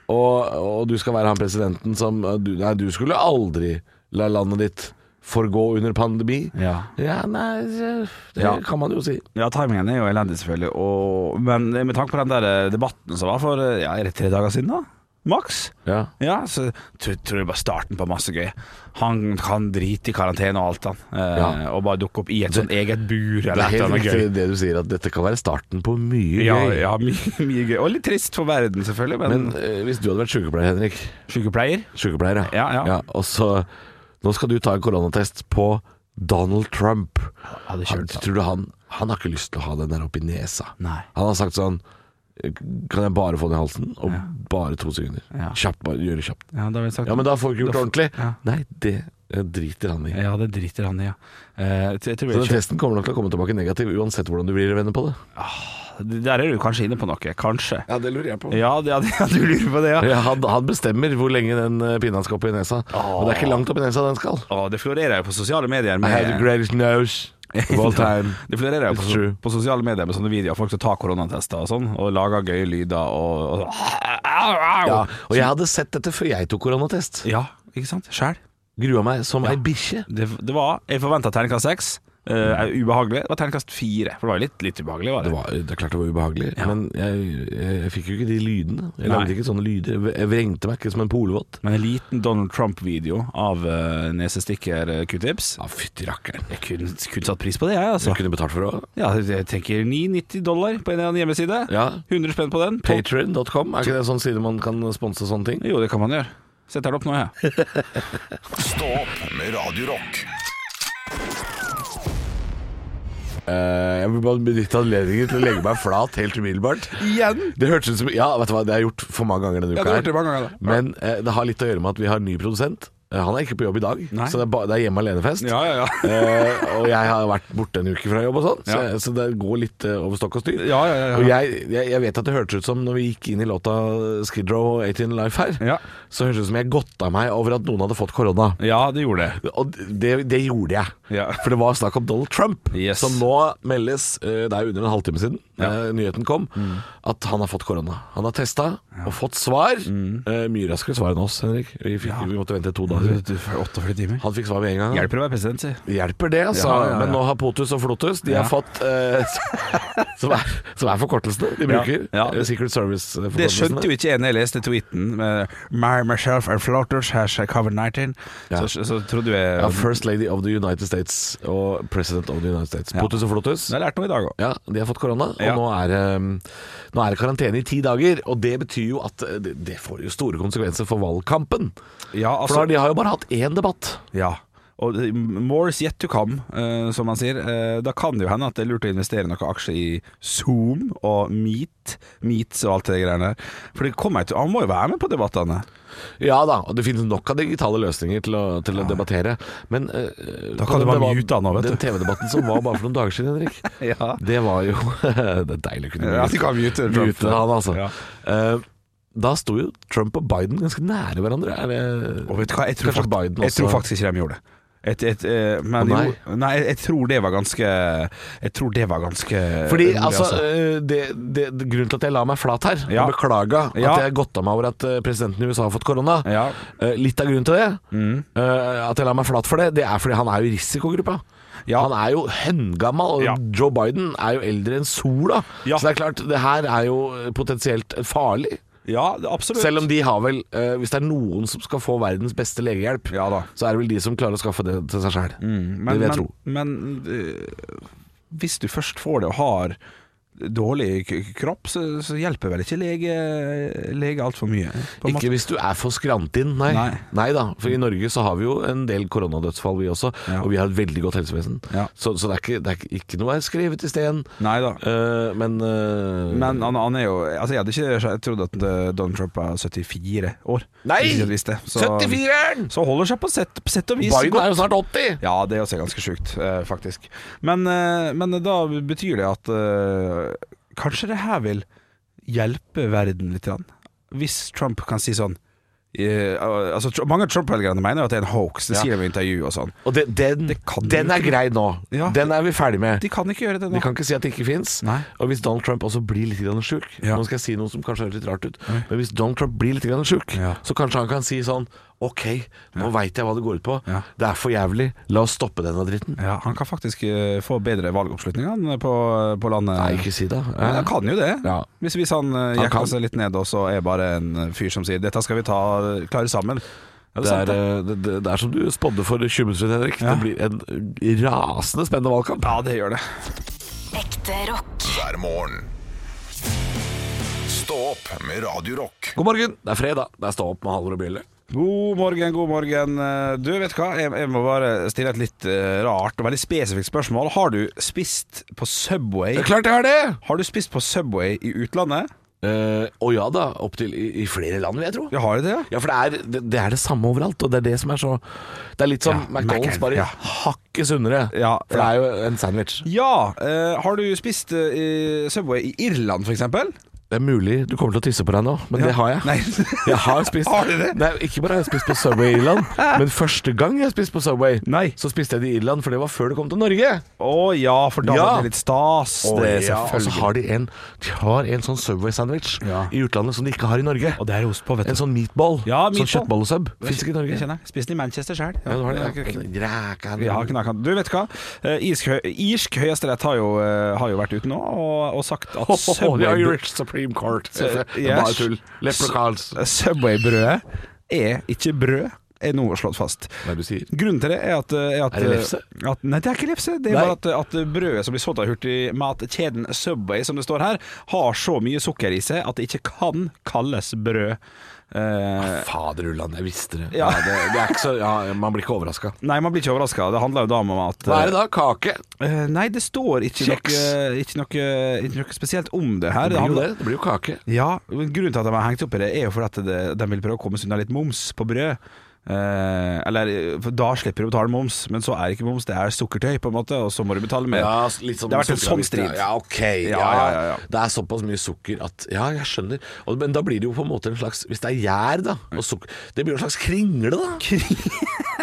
og, og du skal være han presidenten som du, Nei, du skulle aldri la landet ditt forgå under pandemi.
Ja.
nei, det
Ja.
kan man jo si.
Ja, timingen er jo elendig, selvfølgelig. Og, men med tanke på den der eh, debatten som var for eh, ja, er det tre dager siden, da? Maks?
Ja.
Ja, så tror, tror jeg bare starten på masse gøy. Han kan drite i karantene og alt, han. Eh,
Ja.
Og bare dukke opp i et sånn eget bur
Det
eller et eller
er helt
annet gøy.
riktig det du sier, at dette kan være starten på mye
Ja,
gøy.
ja mye, mye gøy. Og litt trist for verden, selvfølgelig, men,
Men eh, hvis du hadde vært sykepleier, Henrik
sykepleier?
Sykepleier,
Ja, ja.
Og så Nå skal du ta en koronatest på Donald Trump.
Hadde
Han,
kjørt sånn.
tror du han Han har ikke lyst til å ha den der oppi nesa.
Nei.
Han har sagt sånn Kan jeg bare få den i halsen? Og bare to sekunder.
Ja.
Kjapt, bare gjør det kjapt.
Ja, da har vi sagt
Ja, men da får vi ikke gjort det ordentlig.
Ja.
Nei, det eh, driter han i.
Ja, det driter han i, ja. Eh, jeg tror
Så
jeg
den testen kommer nok til å komme tilbake negativ uansett hvordan du blir venner på det.
kjører- Der er du kanskje inne på noe. Kanskje.
Ja, det lurer jeg på.
Ja, det- ja, det- ja, du lurer på det, ja.
Ja, han, han bestemmer hvor lenge den eh, pinna skal opp i nesa. Og det er ikke langt opp i nesa den skal.
Å, det florerer jo på sosiale medier
I have the
med
greatest nose of all time.
Det florerer jo
It's
på,
true.
på sosiale medier med sånne videoer. Folk som tar koronatester og sånn, og lager gøye lyder og, og
Ja,
ja.
og jeg hadde sett dette før jeg tok koronatest.
ja, ikke sant? Sjæl.
Grua meg som ei bikkje.
Det, det var Jeg forventa terningkast seks. eh, er ubehagelig. Det var terningkast fire. For det var jo litt, litt ubehagelig, var
Mm. Det,
det.
var, det er klart det var ubehagelig, men jeg, jeg, jeg fikk jo ikke de lydene. Jeg
Nei.
lagde ikke sånne lyder. Jeg v- Jeg vrengte meg ikke som en polvott.
Men en liten Donald Trump-video av eh, nesestikker eh, q-tips
Ja, fytti rakkeren.
Jeg kunne, kunne satt pris på det, jeg, altså.
Jeg kunne betalt for det òg.
Ja, jeg tenker 9,90 dollar på en eller annen hjemmeside.
Ja.
100 spenn på den. Tolv-
Patron.com, er ikke det en sånn side man kan sponse sånne ting?
Jo, det kan man gjøre. Setter det opp nå, jeg.
Stå opp med Radio Rock.
Eh, jeg vil bare benytte anledningen til å legge meg flat helt umiddelbart.
Igjen?
Det hørtes ut som Ja, vet du hva, det har jeg gjort for mange ganger denne
Ja,
uka.
du har
her.
gjort det mange ganger, da.
Men eh, det har litt å gjøre med at vi har ny produsent. Eh, han er ikke på jobb i dag,
Nei.
så det er, ba, det er hjemme alene-fest.
Ja, ja, ja.
Eh, og jeg har vært borte en uke fra jobb og sånn, så,
Ja.
så det går litt eh, over stokk og styr.
Ja, ja, ja, ja.
Og jeg, jeg, jeg vet at det hørtes ut som når vi gikk inn i låta Skid Row og 18 Life her,
Ja.
så hørtes det ut som jeg godta meg over at noen hadde fått korona.
Ja, det gjorde det.
Og det, det gjorde jeg.
Ja.
For det var snakk om Donald Trump,
Yes.
som nå meldes eh, Det er jo under en halvtime siden eh, nyheten kom,
Mm.
at han har fått korona. Han har testa og fått svar.
Mm.
Eh, mye raskere svar enn oss, Henrik. Vi, fikk, vi måtte vente to dager.
Mm. 48 timer.
Han fikk svar med en gang.
Hjelper å være president, si.
Hjelper det, altså.
Ja, ja, ja.
Men nå har Potus og Flotus De
Ja.
har fått eh, som, er, som er forkortelsene de
Ja,
bruker.
ja.
Eh, Secret Service-forkortelsene.
Det skjønte jo ikke jeg når jeg leste tweeten med My, myself and floaters has covid-19.
Ja.
Så, så trodde jeg
ja, First Lady of the United States og President of the United States.
Ja.
Potus og Flotus.
Jeg har lært noe i dag òg.
Ja, de har fått korona, og
Ja.
nå, er, det- nå er det karantene i ti dager. Og det betyr jo at eh, det, det får jo store konsekvenser for valgkampen.
Ja, altså,
For da, de har jo bare hatt én debatt.
ja. Og det- more's yet to come, eh, som man sier. Eh, da kan det jo hende at det er lurt å investere noen aksjer i Zoom og Meet, Meets og alt det greiene der. For det kommer jeg til, han må jo være med på debattene.
Ja da, og det finnes nok av digitale løsninger til å, til å debattere. Men eh,
Da kan
den
du bare
debatt-
mute han nå, vet du.
Den TV-debatten som var bare for noen dager siden, Henrik.
Ja.
Det var jo Det er deilig å kunne
Ja, du kan mute Trump.
mute han, altså.
Ja.
Eh, da sto jo Trump og Biden ganske nære hverandre. Er det
Og vet du hva, jeg tror,
Kanskje
fakt-
Biden
jeg tror
også-
faktisk ikke de gjorde det. Et, et, eh, men
Å, nei.
Jo, nei, jeg tror det var ganske Jeg tror det var ganske
Fordi
rolig,
altså, eh, det, det, det, Grunnen til at jeg la meg flat her
Ja.
og beklaga
Ja.
at jeg godta meg over at eh, presidenten i USA har fått korona
Ja. mm.
eh, Litt av grunnen til det, eh, at jeg la meg flat for det, det er fordi han er jo i risikogruppa.
Ja.
Han er jo høngammal, og
Ja.
Joe Biden er jo eldre enn sola.
Ja.
Så det er klart, det her er jo eh, potensielt farlig.
ja, det- absolutt.
Selv om de har vel eh, Hvis det er noen som skal få verdens beste legehjelp,
Ja da.
så er det vel de som klarer å skaffe det til seg sjæl.
Mm,
det vil jeg
men,
tro.
Men eh, hvis du først får det og har dårlig k kropp, så, så hjelper vel ikke lege, lege altfor mye. på en måte.
Ikke hvis du er for skrantin, nei. nei.
Nei.
da, for i Norge så har vi jo en del koronadødsfall vi også,
Ja.
og vi har et veldig godt helsevesen.
Ja.
Så, så det, er ikke, det er ikke- ikke noe er skrevet i sten.
Nei da.
Eh, men eh,
Men han, han er jo Altså Jeg hadde ikke trodd at eh, Donald Trump er 74 år.
Nei!
Hvis ikke jeg visste. Så,
74-eren!
Så holder seg på sett, på sett og vis
Biden
godt.
er jo snart 80!
Ja, det er også ganske sjukt, eh, faktisk. Men, eh, men da betyr det at eh, kanskje det her vil hjelpe verden litt. Grann. Hvis Trump kan si sånn eh, altså, Tr- mange av Trump-velgerne mener jo at det er en hoax, det
Ja.
sier de i intervju og sånn.
Og den, den,
Det kan
den
jo
er
ikke-
grei nå.
Ja.
Den er vi ferdig med.
De kan ikke gjøre det
Vi
nå.
kan ikke si at det ikke fins.
Nei.
Og hvis Donald Trump også blir litt grann sjuk
Ja.
Nå skal jeg si noe som kanskje høres litt rart ut, men hvis Donald Trump blir litt grann sjuk,
Ja.
så kanskje han kan si sånn Ok, nå vet veit jeg hva det går ut på.
Ja.
Det er for jævlig. La oss stoppe denne dritten.
Ja, han kan faktisk eh, få bedre valgoppslutning han, på, på landet.
Nei, ikke si det.
Ja,
Eh,
han kan jo det.
Ja.
Hvis, hvis han eh,
Han kan.
jekker seg litt ned, og så er bare en fyr som sier 'dette skal vi ta klare sammen'. Ja,
Det er, eh, det, det, det er som du spådde for 20 minutter siden, Henrik. Det blir en rasende spennende valgkamp.
Ja, det gjør det.
Ekte rock.
hver morgen. Stå opp med Radio Rock.
God morgen, det er fredag. Det er stå opp med Halvor og Bjelle.
God morgen, god morgen. Eh, Du, vet du hva? Jeg, jeg må bare stille et litt eh, rart og veldig spesifikt spørsmål. Har du spist på Subway?
Det er klart jeg har det!
Har du spist på Subway i utlandet?
Eh, og ja da, opptil i, i flere land, vil jeg tro.
Ja, har du det?
Ja, for det er det, det er det samme overalt, og det er det som er så Det er litt som
Ja,
McDonald's,
Mac-en,
bare
ja.
hakket sunnere.
Ja,
for det er jo en sandwich.
Ja! eh, har du spist eh, i Subway i Irland, for eksempel?
Det er mulig du kommer til å tisse på deg nå, men det har jeg.
Nei.
Jeg har spist
Har du det?
Nei, Ikke bare har jeg spist på Subway i Irland, men første gang jeg spiste på Subway,
Nei.
så spiste jeg det i Irland, for det var før det kom til Norge.
Å ja, for da
Ja.
var det litt stas.
Og
det,
ja, og så
selvfølgelig.
har de en De har en sånn Subway-sandwich
Ja.
i utlandet som de ikke har i Norge.
Og det er ost på, vet
En sånn meatball.
Ja,
Sånn
meatball.
kjøttbollesub. Fins ikke i Norge.
Jeg kjenner jeg. Spiste den i Manchester sjøl.
Ja, du har det, ja.
Ja, knakan. Du vet hva, Eh, irsk, hø- irsk høyesterett har, jo, eh, har jo vært ute nå og, og sagt at
The
Subway-
Irish Supreme Court.
Så-
Det er
yes. eh,
bare tull. Leprechauns.
Subway-brødet er ikke brød, er nå slått fast.
Hva er det du sier?
Grunnen til det er at, eh, er at
Er det lefse?
At, nei, det er ikke lefse. Det er
Nei.
bare at, at brødet som blir solgt av hurtigmatkjeden Subway, som det står her, har så mye sukker i seg at det ikke kan kalles brød. Eh,
Fader Ulland, jeg visste det. Ja.
Ja.
det, det er ikke så, ja, man blir ikke overraska.
nei, man blir ikke overraska. Det handler jo da om at
Hva er det da? Kake?
Eh, nei, det står ikke
Kjeks.
noe, ikke, noe, ikke noe spesielt om det her.
Det blir jo det.
handler-
Det blir jo kake.
Ja, men Grunnen til at de har hengt opp i det, er jo fordi at det- de vil prøve å komme seg unna litt moms på brød. Eh, eller for Da slipper du å betale moms, men så er det ikke moms, det er sukkertøy, på en måte, og så må du betale mer.
Ja, litt sånn
det har vært en sånn
sukkeravgift,
strid.
Ja, Ja, ok. Ja, ja, ja, Det er såpass mye sukker at Ja, jeg skjønner. Og, men da blir det jo på en måte en slags Hvis det er gjær, da, og sukker Det blir jo en slags kringle, da.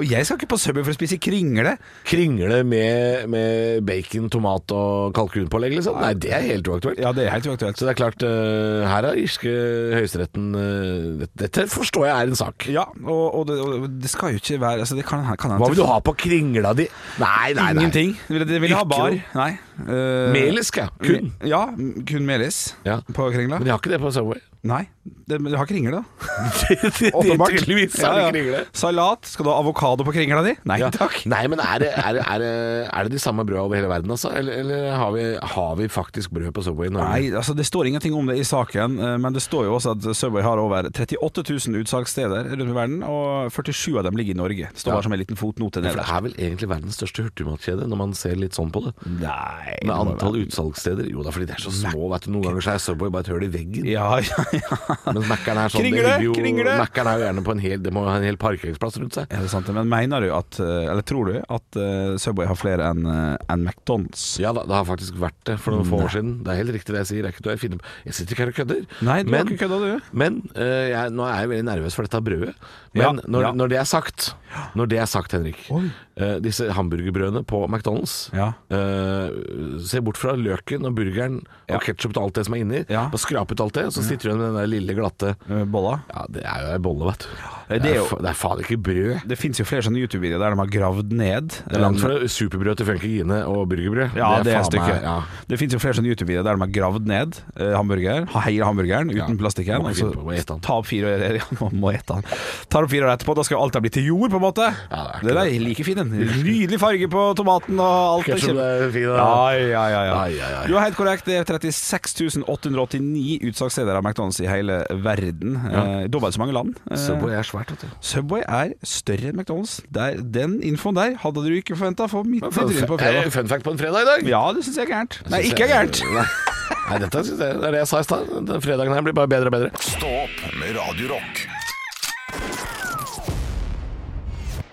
Og jeg skal ikke på Subway for å spise kringle!
Kringle med, med bacon, tomat og kalkunpålegg, liksom. Nei, det er helt uaktuelt.
Ja, det er helt uaktuelt.
Så det er klart, eh, her er irske høyesteretten eh, det- Dette forstår jeg er en sak.
Ja, og, og, det, og det skal jo ikke være altså, det kan, kan
Hva vil du ha på kringla di? Nei, nei, nei.
Ingenting. Vil, vil jeg ha
Ikke
bar?
noe.
Nei. Eh,
Melisk, ja. Kun.
Ja, kun melis
Ja.
på kringla.
Men jeg har ikke det på Subway.
Nei, det, men du har kringle da
Åpenbart. Tydeligvis er det
Ja, ja.
kringle.
Salat, skal du ha avokado på kringla di? Nei
Ja.
takk
Nei, men er det, er, det, er, det, er det de samme brødene over hele verden, altså? Eller, eller har, vi, har vi faktisk brød på Subway i Norge?
Nei, altså det står ingenting om det i saken eh, Men det står jo også at Subway har over 38 000 utsalgssteder rundt i verden Og 47 av dem ligger i Norge Det står
Ja.
bare som en liten fotnote
For
nede
det er vel egentlig verdens største hurtigmatkjede, når man ser litt sånn på det.
Nei
Med antall utsalgssteder. Jo da, fordi de er så små, vet du. Noen ganger så er Subway bare et høl i veggen.
Ja, ja, ja
Mens Mac-eren er sånn det
Kringle,
ligger jo-
kringle.
Mac-eren er jo gjerne på en hel Det må jo ha en hel parkeringsplass rundt seg.
Er det sant det? Men mener du at, eh, eller tror du at eh, Subway har flere enn eh, enn McDonalds?
Ja da, det har faktisk vært det for noen
Mm.
få år siden. Det er helt riktig det jeg sier. Jeg, er ikke, jeg, finner, jeg sitter ikke her og kødder.
Nei, du har
Men-
ikke kødda, du.
Men eh, jeg, nå er jeg veldig nervøs for dette brødet. Men
Ja,
når,
ja.
når det er sagt, når det er sagt, Henrik eh, Disse hamburgerbrødene på McDonald's
Ja.
eh, Se bort fra løken og burgeren
Ja.
og ketsjup og alt det som er inni.
Ja.
Bare skrap ut alt det, så sitter du igjen med den der lille glatte
Eh, Bolla.
Ja, det er jo ei bolle, vet du.
det er
Det er
jo-
fa- det er faen ikke brød.
Det fins jo flere sånne YouTube-videoer der de har gravd ned. eh,
Det er langt fra superbrød til funky gine og burgerbrød.
Ja, det, er
faen meg-
stykket.
ja.
Det fins jo flere sånne YouTube-videoer der de har gravd ned eh, hamburger, ha- hele hamburgeren uten
Ja.
plastikken.
Må
Og
ikke- må ete
så
den.
ta opp fire år, ja, man må ete den. Tar opp fire år etterpå, da skal jo alt ha blitt til jord, på en måte.
Ja, det er ikke
det der er like fin, en nydelig farge på tomaten og alt.
Ketchup
kjempe-
er fin, da.
ja, ja, ja, ja.
Ai, ai, ai.
Du er helt korrekt. Det er 36 889 utsalgssteder av McDonald's i hele verden. Eh, Dobbelt så mange land. Eh,
Subway er svært, vet du.
Subway er større enn McDonald's. Der, den infoen der hadde du ikke forventa for mitt mitt
Fun,
tryne på fredag.
Eh, fun fact på en fredag i dag.
Ja, det syns Eh, jeg er gærent. Nei, ikke er gærent.
Nei, Nei, dette synes jeg, det er det jeg sa i stad. Den Fredagen her blir bare bedre og bedre.
Stå opp med Radio Rock.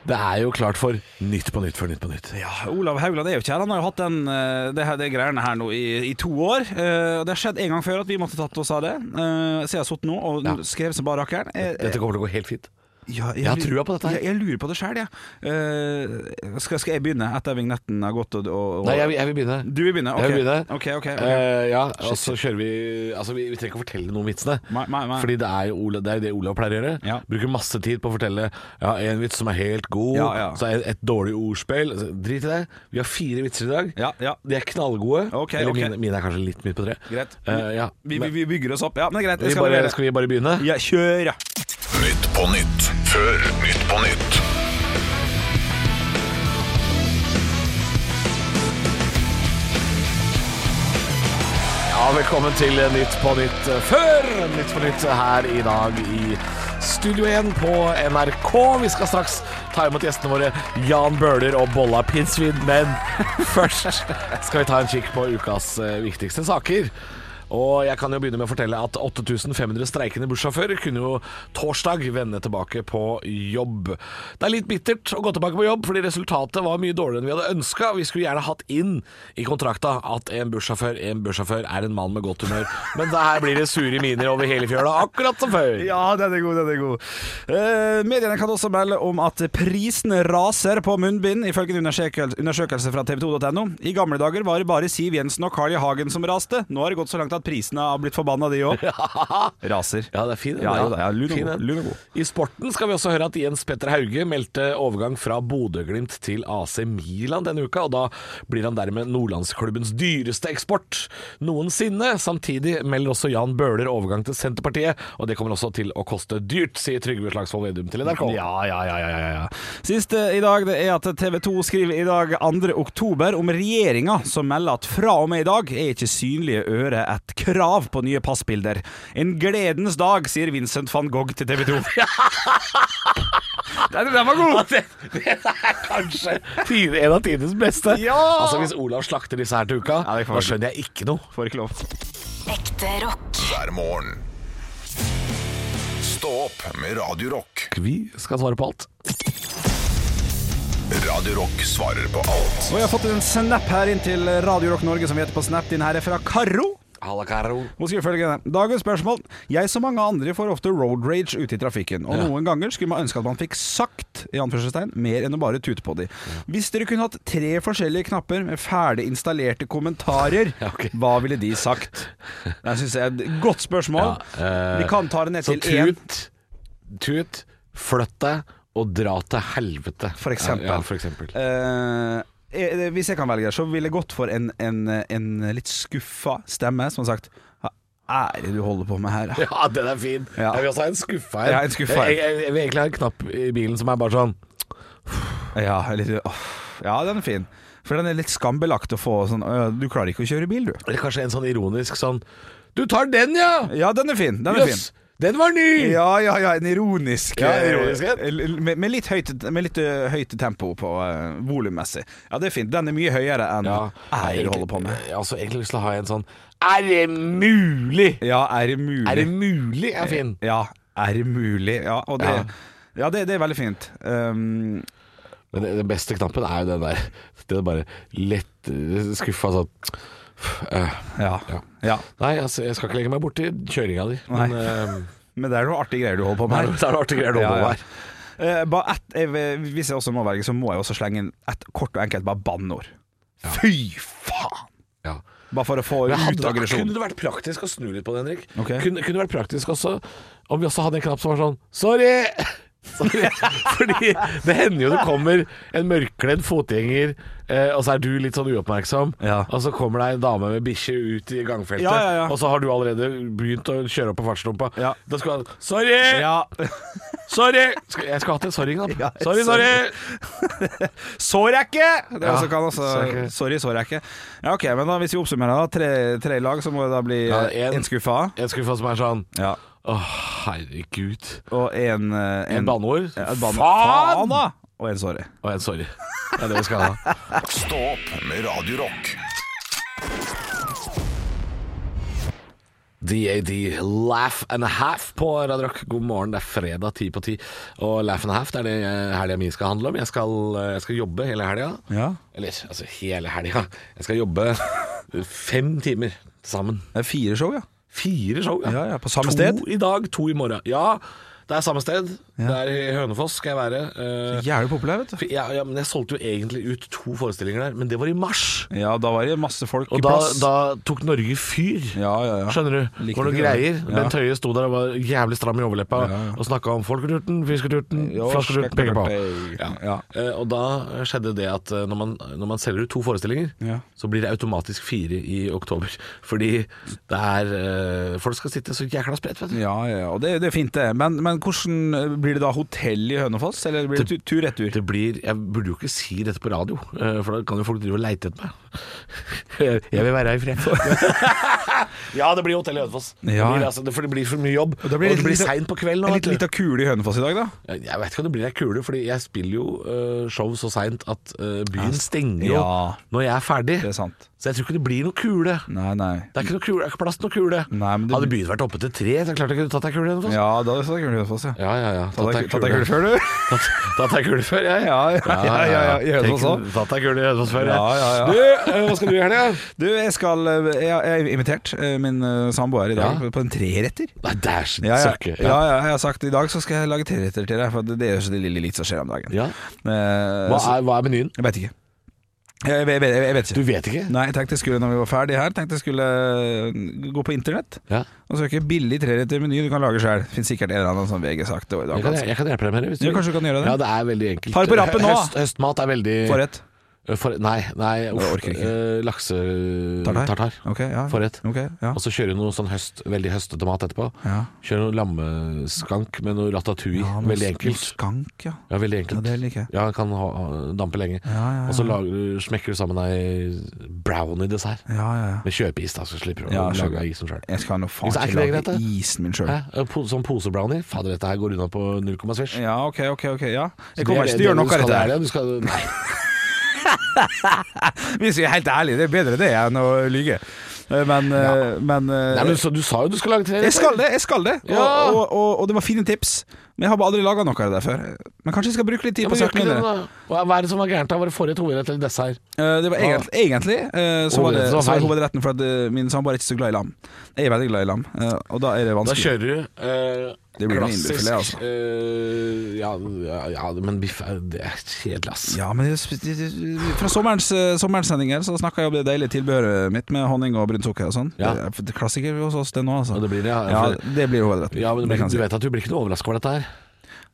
Det er jo klart for Nytt på nytt for Nytt på nytt.
Ja, Olav Haugland er jo ikke her. Han har jo hatt den, eh, det her, det greiene her nå i, i to år. Eh, og Det har skjedd en gang før at vi måtte tatt oss av det. Eh, Så jeg har sittet nå og
Ja.
skrev som bare rakkeren. Jeg-
Dette kommer til å gå helt fint.
Ja,
Jeg har
lu-
trua på dette her.
Jeg, jeg lurer på det sjøl, jeg. Eh, skal, skal jeg begynne etter vignetten har gått og, og, og
Nei, jeg, vil- jeg vil begynne.
Du vil begynne? Ok,
Jeg vil begynne.
Ok, ok, ok.
Eh, ja, og så kjører vi Altså, vi, vi trenger ikke å fortelle noen vitsene.
Nei, nei, nei.
Fordi det er, jo Ola, det er jo det Olav pleier å gjøre.
Ja.
Bruker masse tid på å fortelle Ja, en vits som er helt god,
Ja, ja.
så er det et dårlig ordspill. Altså, Drit i det. Vi har fire vitser i dag.
Ja, ja.
De er knallgode.
Ok,
Eller
ok.
Mine, mine er kanskje litt midt på treet.
Greit.
Eh, ja.
vi, vi,
Men-
vi bygger oss opp. Ja, men greit.
vi
Jeg skal
bare,
levere.
skal vi bare begynne?
Ja, kjør, ja.
Nytt på nytt før Nytt på nytt.
Ja, velkommen til Nytt på Nytt eh, før Nytt på Nytt her i dag i Studio 1 på NRK. Vi skal straks ta imot gjestene våre Jan Bøhler og Bolla Pinsvin, men først skal vi ta en kikk på ukas eh, viktigste saker. Og jeg kan jo begynne med å fortelle at 8500 streikende bussjåfører kunne jo torsdag vende tilbake på jobb. Det er litt bittert å gå tilbake på jobb, fordi resultatet var mye dårligere enn vi hadde ønska. Vi skulle gjerne hatt inn i kontrakta at en bussjåfør, en bussjåfør er en mann med godt humør. Men der blir det sure miner over hele fjøla, akkurat som før.
Ja, den er god, den er god. Eh, mediene kan også melde om at prisene raser på munnbind, ifølge en undersøkel- undersøkelse fra tv2.no. I gamle dager var det bare Siv Jensen og Carl I. Hagen som raste. Nå har det gått så langt at prisene har blitt forbanna, de òg. Raser.
Ja, det er fin den,
Ja,
da.
jo da, ja, lun og
Fin
god,
den.
lun og god.
I sporten skal vi også høre at Jens Petter Hauge meldte overgang fra Bodø-Glimt til AC Milan denne uka, og da blir han dermed nordlandsklubbens dyreste eksport noensinne. Samtidig melder også Jan Bøhler overgang til Senterpartiet, og det kommer også til å koste dyrt, sier Trygve Slagsvold Vedum til NRK.
Ja, ja, ja, ja, ja, ja. Siste i dag det er at TV 2 skriver i dag 2. oktober om regjeringa som melder at fra og med i dag er ikke synlige øre et krav på nye passbilder. En gledens dag, sier Vincent van Gogh til TV 2. den, den var god!
Det, det er kanskje tide, en av tidenes beste.
Ja!
Altså Hvis Olav slakter disse her til uka,
Ja, det får
da
vi-
skjønner jeg ikke noe.
Får ikke lov.
Ekte rock.
hver morgen. Stå opp med Radio Rock.
Vi skal svare på alt.
Radio Rock svarer på alt.
Og jeg har fått en snap her inn til Radio Rock Norge, som vi heter på Snap. Din her er fra Karo.
Halla, Karo.
Hun skriver følgende Dagens spørsmål Jeg som mange andre får ofte road rage ute i trafikken Og noen ganger skulle man ønske at man fikk sagt I anførselstegn Mer enn å bare tute på de Hvis dere kunne hatt tre forskjellige knapper Med ferdig installerte kommentarer
Ja, ok.
Hva ville de sagt? Det synes jeg er et godt spørsmål
eh,
Vi kan ta det ned
Så
til én
tut, tut, flytt deg og dra til helvete.
For eksempel.
Ja, for eksempel.
Eh, eh, hvis jeg kan velge, så ville jeg gått for en, en, en litt skuffa stemme som har sagt Hva er det du holder på med her?
Ja, den er fin.
Ja.
Jeg vil også ha en skuffe her.
Ja, en skuffe her.
Jeg, jeg, jeg vil egentlig ha en knapp i bilen som er bare sånn
Ja, eller, åh, ja, den er fin. For den er litt skambelagt å få sånn øh, Du klarer ikke å kjøre bil, du.
Eller kanskje en sånn ironisk sånn Du tar den, ja!
Ja, den er fin. Den er
Jøss, den var ny!
fin. Ja, ja, ja, en ironisk
Ja, ironisk, ja.
eh, l- Med, med litt høyt, med litt øh, høyt tempo på uh, volummessig. Ja, det er fint. Den er mye høyere enn
Ja.
Er det du holder på med?
Jeg har også egentlig lyst til å ha en sånn Er det mulig?
Ja, er det mulig?
Er det mulig? er fin.
Ja, er det mulig? Ja, og det,
Ja.
ja. det, det er veldig fint. Um,
Men det- den beste knappen er jo den der. Den er bare lett eh, skuffa sånn øh.
ja.
Ja.
ja.
Nei, altså, jeg skal ikke legge meg borti kjøringa di. Men eh,
Men det er noe artige greier du holder på
det
med.
er det er artig greier å
Ja,
holde
ja.
på her.
Eh, bare ett- jeg vil- hvis jeg også må velge, så må jeg også slenge inn et kort og enkelt bare banneord. Fy faen!
Ja.
Bare for å få
Men
ut
hadde,
aggresjonen.
kunne det vært praktisk å snu litt på det, Henrik?
Ok.
Kunne, kunne det vært praktisk også om vi også hadde en knapp som var sånn Sorry! Sorry. Fordi det hender jo det kommer en mørkledd fotgjenger, eh, og så er du litt sånn uoppmerksom,
Ja.
og så kommer det ei dame med bikkje ut i gangfeltet,
Ja, ja, ja.
og så har du allerede begynt å kjøre opp på fartsdumpa.
Ja.
Da skulle han Sorry!
Ja.
Sorry! Skal- Jeg skulle hatt en sorry-knapp.
Ja,
sorry, sorry!
Sår jeg ikke! Det er
Ja,
også kan også,
sår jeg ikke.
sorry, sår jeg ikke. Ja, ok, men da, hvis vi oppsummerer da, tre, tre lag, så må det da bli
Ja,
eh,
en-
en skuffa.
En skuffa som er sånn
Ja.
Å, herregud.
Og en, eh,
En banneord.
Ja, et banneord.
Faen!
Faen, da! Og en sorry.
Og en sorry. Det er det vi skal ha.
Stå opp med Radio Rock.
DAD, Laugh and a Half på Radio Rock. God morgen, det er fredag ti på ti. Og Laugh and a Half det er det helga mi skal handle om. Jeg skal, jeg skal jobbe hele helga.
Ja.
Eller altså hele helga. Jeg skal jobbe fem timer til sammen.
Det er fire show, ja.
Fire show,
Ja, ja, på samme
to
sted.
To i dag, to i morgen. Ja, det er samme sted. Det er i Hønefoss skal jeg være. Eh,
Jævlig populær, vet du.
for- ja, ja, men jeg solgte jo egentlig ut to forestillinger der, men det var i mars.
Ja, da var det masse folk
Og
i
da,
plass.
da tok Norge fyr.
ja, ja, ja.
Skjønner du? Det
Likte
var noen
ikke det.
greier.
Ja.
Bent Høie sto der og var jævlig stram i overleppa
Ja, ja.
og snakka om folketurten, fisketurten,
Jo,
flasketurten, peker på.
skekkepei.
Ja.
Ja.
Eh, og da skjedde det at eh, når man, når man selger ut to forestillinger,
Ja.
så blir det automatisk fire i oktober. Fordi det er eh, Folk skal sitte så jækla spredt, vet du.
Ja, ja, og det, det er fint, det. Men, men hvordan eh, blir det da hotell i Hønefoss, eller blir det tur-retur?
Det blir, Jeg burde jo ikke si dette på radio, eh, for da kan jo folk drive og leite etter meg. Jeg vil være her i fred. ja, det blir hotell i Hønefoss. Det
Ja.
blir altså- det- For det blir for mye jobb. Og det
litt-
blir,
litt-
seint på kvelden. nå,
Litt
vet du.
lita kule i Hønefoss i dag, da?
Jeg jeg vet ikke om det blir ei kule, Fordi jeg spiller jo eh, show så seint at eh, byen stenger jo
ja.
når jeg er ferdig.
Det er sant.
Så jeg tror ikke det blir noe kule.
Nei, nei.
Det er ikke, noe kule, det er ikke plass til noe kule.
Nei, men det-
Hadde byen vært oppe til tre, så klart jeg kunne tatt ei kule. Eller noe.
Ja, da er det kule i Hønefoss, ja.
Ja, ja, ja.
Tatt deg tatt deg kule før, du?
Tatt tatt ei kule før, jeg.
Ja, ja, ja, ja, ja, i Hønefoss
Tenk,
også.
Tatt ei kule i Hønefoss før, jeg.
Ja, ja, ja.
Du, eh, hva skal du i helga?
Du, jeg skal eh, Jeg jeg er invitert eh, min eh, samboer i dag
Ja.
på en treretter.
Nei, dæsjen
Ja ja.
søkke.
ja, ja, jeg har sagt i dag så skal jeg lage treretter til deg, for det er jo så det lille litt som skjer om dagen.
Ja.
Eh,
Hva,
så-
er, hva er menyen?
Jeg vet ikke. Jeg, jeg, jeg, jeg vet
Du
ikke.
vet ikke?
Nei, jeg tenkte jeg skulle når vi var ferdig her Tenkte jeg skulle eh, gå på internett
Ja.
og søke billig treretter meny du kan lage sjøl. Fins sikkert en eller annen sånn VG-sak. det var i dag,
Jeg kan,
altså.
jeg kan hjelpe deg med det. Hvis
Ja, kanskje du kan gjøre det.
Ja, det er veldig enkelt.
Ta det på rappen nå, da.
Høst, høstmat er veldig
Forrett.
Eh, For, nei, nei uff,
orker jeg ikke.
eh, lakse...
Tartar?
Tartar.
Ok, ja.
Forrett.
Ok, ja.
Og så kjører du noe sånn høst, veldig høstete mat etterpå.
Ja.
Kjører noe lammeskank med noe ratatouille.
Ja, noe-
veldig
noe
enkelt.
Skank, ja.
Ja, veldig enkelt.
Ja, det liker jeg.
Ja, kan ha, ha- dampe lenge.
ja, ja.
Og så lager, du- smekker du sammen ei brownie-dessert.
Ja, ja, ja.
Med kjøpeis, da, så slipper du
Ja,
å
skjønner.
lage isen sjøl.
Jeg skal nå faen
Hvis det er
ikke
ikke det
lage
greit, da?
isen min sjøl.
Sånn posebrownie? Fader, dette her går unna på null komma svisj.
Ja, ok, ok, ok, ja.
Det
Jeg kommer
er
ikke
det-
til å gjøre
det
noe av
du
dette.
skal
her.
lære, Du skal, nei,
Hvis vi er helt ærlige, det er bedre det enn å lyge. Eh, Men, eh, men, eh,
nei, men så, du sa jo du skal lage tre
jeg skal det, jeg skal det.
Ja.
Og, og, og, og det var fine tips. Men jeg har bare aldri laga noe av det der før. Men kanskje jeg skal bruke litt tid
Ja,
på å
men gjør
gjøre
ikke det,
det.
da. Hva hva er det som var gærent? da? Var det forrett hovedrett eller dessert?
Eh, Det var egentlig, egentlig eh, så var det
Hovedretten var
så var
feil.
hovedretten for at eh, min samboer er ikke så glad i lam. Jeg er veldig glad i lam, eh, og da er det
Da
vanskelig.
kjører du eh,
Det blir en
klassisk
indrefilet, altså.
eh, ja, ja, ja, men biff er, det er kjedelig, ass.
Ja, men det- det- det- fra sommerens, eh, sommerens sendinger så snakka jeg om det deilige tilbehøret mitt med honning og brunt sukker og sånn.
Ja.
Det er- det er Klassiker hos oss, det nå, altså.
Ja, det blir det, ja.
ja.
For-
det blir hovedretten.
Ja, men du,
det
blir,
kan
du
jeg
vet at du blir ikke noe overraska over dette her?
si.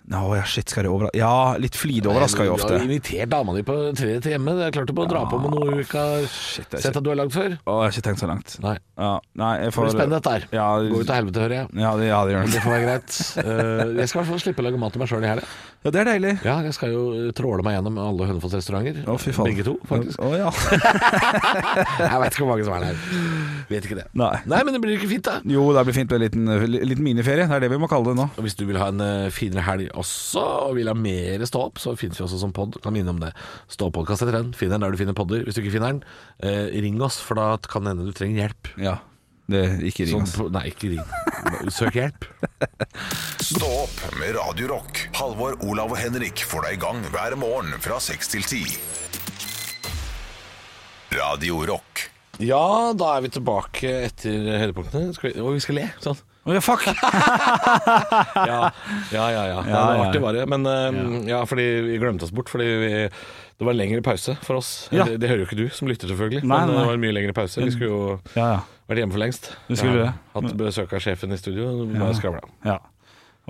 Nå, ja, shit, skal det overraske Ja, litt flid overrasker jo
Du har
ofte.
invitert Eh, dama di på tre til hjemme. Det er klart du må dra på med noe du ikke har
Ah, det er
sett at du har lagd
Å,
før.
jeg har ikke tenkt så langt.
Nei.
Ja, nei, jeg
Det
får
blir spennende dette her.
Ja,
Gå ut av helvete, hører jeg.
ja, det, ja, det gjør
Det
det.
får være greit. Eh, jeg skal i hvert fall slippe å lage mat til meg sjøl i helga.
Ja, det er deilig.
Ja, jeg skal jo eh, tråle meg gjennom alle Hønefoss-restauranter.
Å, fy faen.
Begge to, faktisk.
Å, ja.
Jeg vet ikke hvor mange som er der. Vet ikke det.
Nei.
Nei, men det blir ikke fint, da.
Jo, det blir fint med en liten, liten miniferie. Det er det vi må kalle det nå.
Og Hvis du vil ha en eh, finere helg også, og vil ha mer stå opp, så finnes vi også som pod. Kan minne om det. Stå opp-podkast etter den. Finn den der du finner podder. Hvis du ikke finner den, eh, ring oss, for da kan det hende du trenger hjelp.
Ja, det ikke ring
Sånn,
oss.
på- nei, ikke ring. Søk hjelp.
Stå opp med Radio Rock. Halvor, Olav og Henrik får deg i gang hver morgen fra 6 til 10. Radio Rock.
Ja, da er vi tilbake etter høydepunktene. Skal vi- Og vi skal le. Sånn.
Å ja, fuck!
ja, ja, ja. ja. Det
Ja,
var
ja,
artig
ja.
bare. Men eh, ja, fordi vi glemte oss bort. Fordi vi, det var en lengre pause for oss.
Ja.
Det, det hører jo ikke du som lytter, selvfølgelig.
Nei,
men eh,
nei.
det var en mye lengre pause. Vi skulle jo
Ja, ja.
vært hjemme for lengst.
Vi skulle det.
Hatt besøk av sjefen i studio. og Bare skravla.
ja.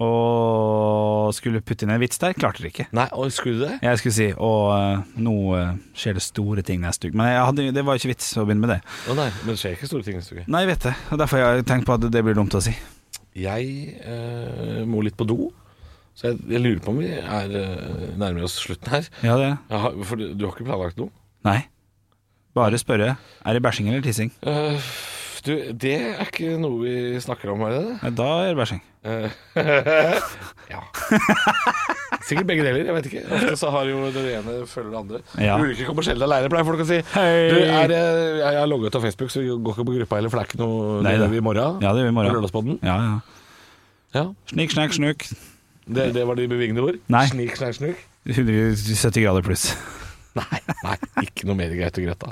Og skulle putte inn en vits der, klarte det ikke.
Nei, og skulle du det?
Jeg skulle si Og eh, nå eh, skjer det store ting neste uke. Men jeg hadde, det var jo ikke vits å begynne med det.
Å nei, men det skjer ikke store ting neste uke.
Nei, jeg vet det. Og Derfor har jeg tenkt på at det blir dumt å si.
Jeg eh, må litt på do, så jeg, jeg lurer på om vi er eh, nærmer oss slutten her.
Ja, det
Jeg har, for du, du har ikke planlagt noe?
Nei. Bare spørre. Er det bæsjing eller tissing?
Eh, du, det er ikke noe vi snakker om, er det det?
Nei, da er det bæsjing.
Ja. Sikkert begge deler, jeg vet ikke. Ofte så har jo det ene følger det andre.
Ja.
Ulykker kommer sjelden aleine, pleier folk å si.
Hei.
Du, er, det- jeg har logget ut av Facebook, så vi går ikke på gruppa heller, for det er ikke noe
Nei,
det
det-
gjør vi i morgen.
Ja, det gjør vi i morgen.
På Lørdagspodden.
Ja, ja.
Ja.
Snikk, snakk, snuk.
Det, det var de bevingende ord.
Nei.
Snik, snakk, snuk.
170 grader pluss.
Nei, nei, ikke noe mer greit og greit, da.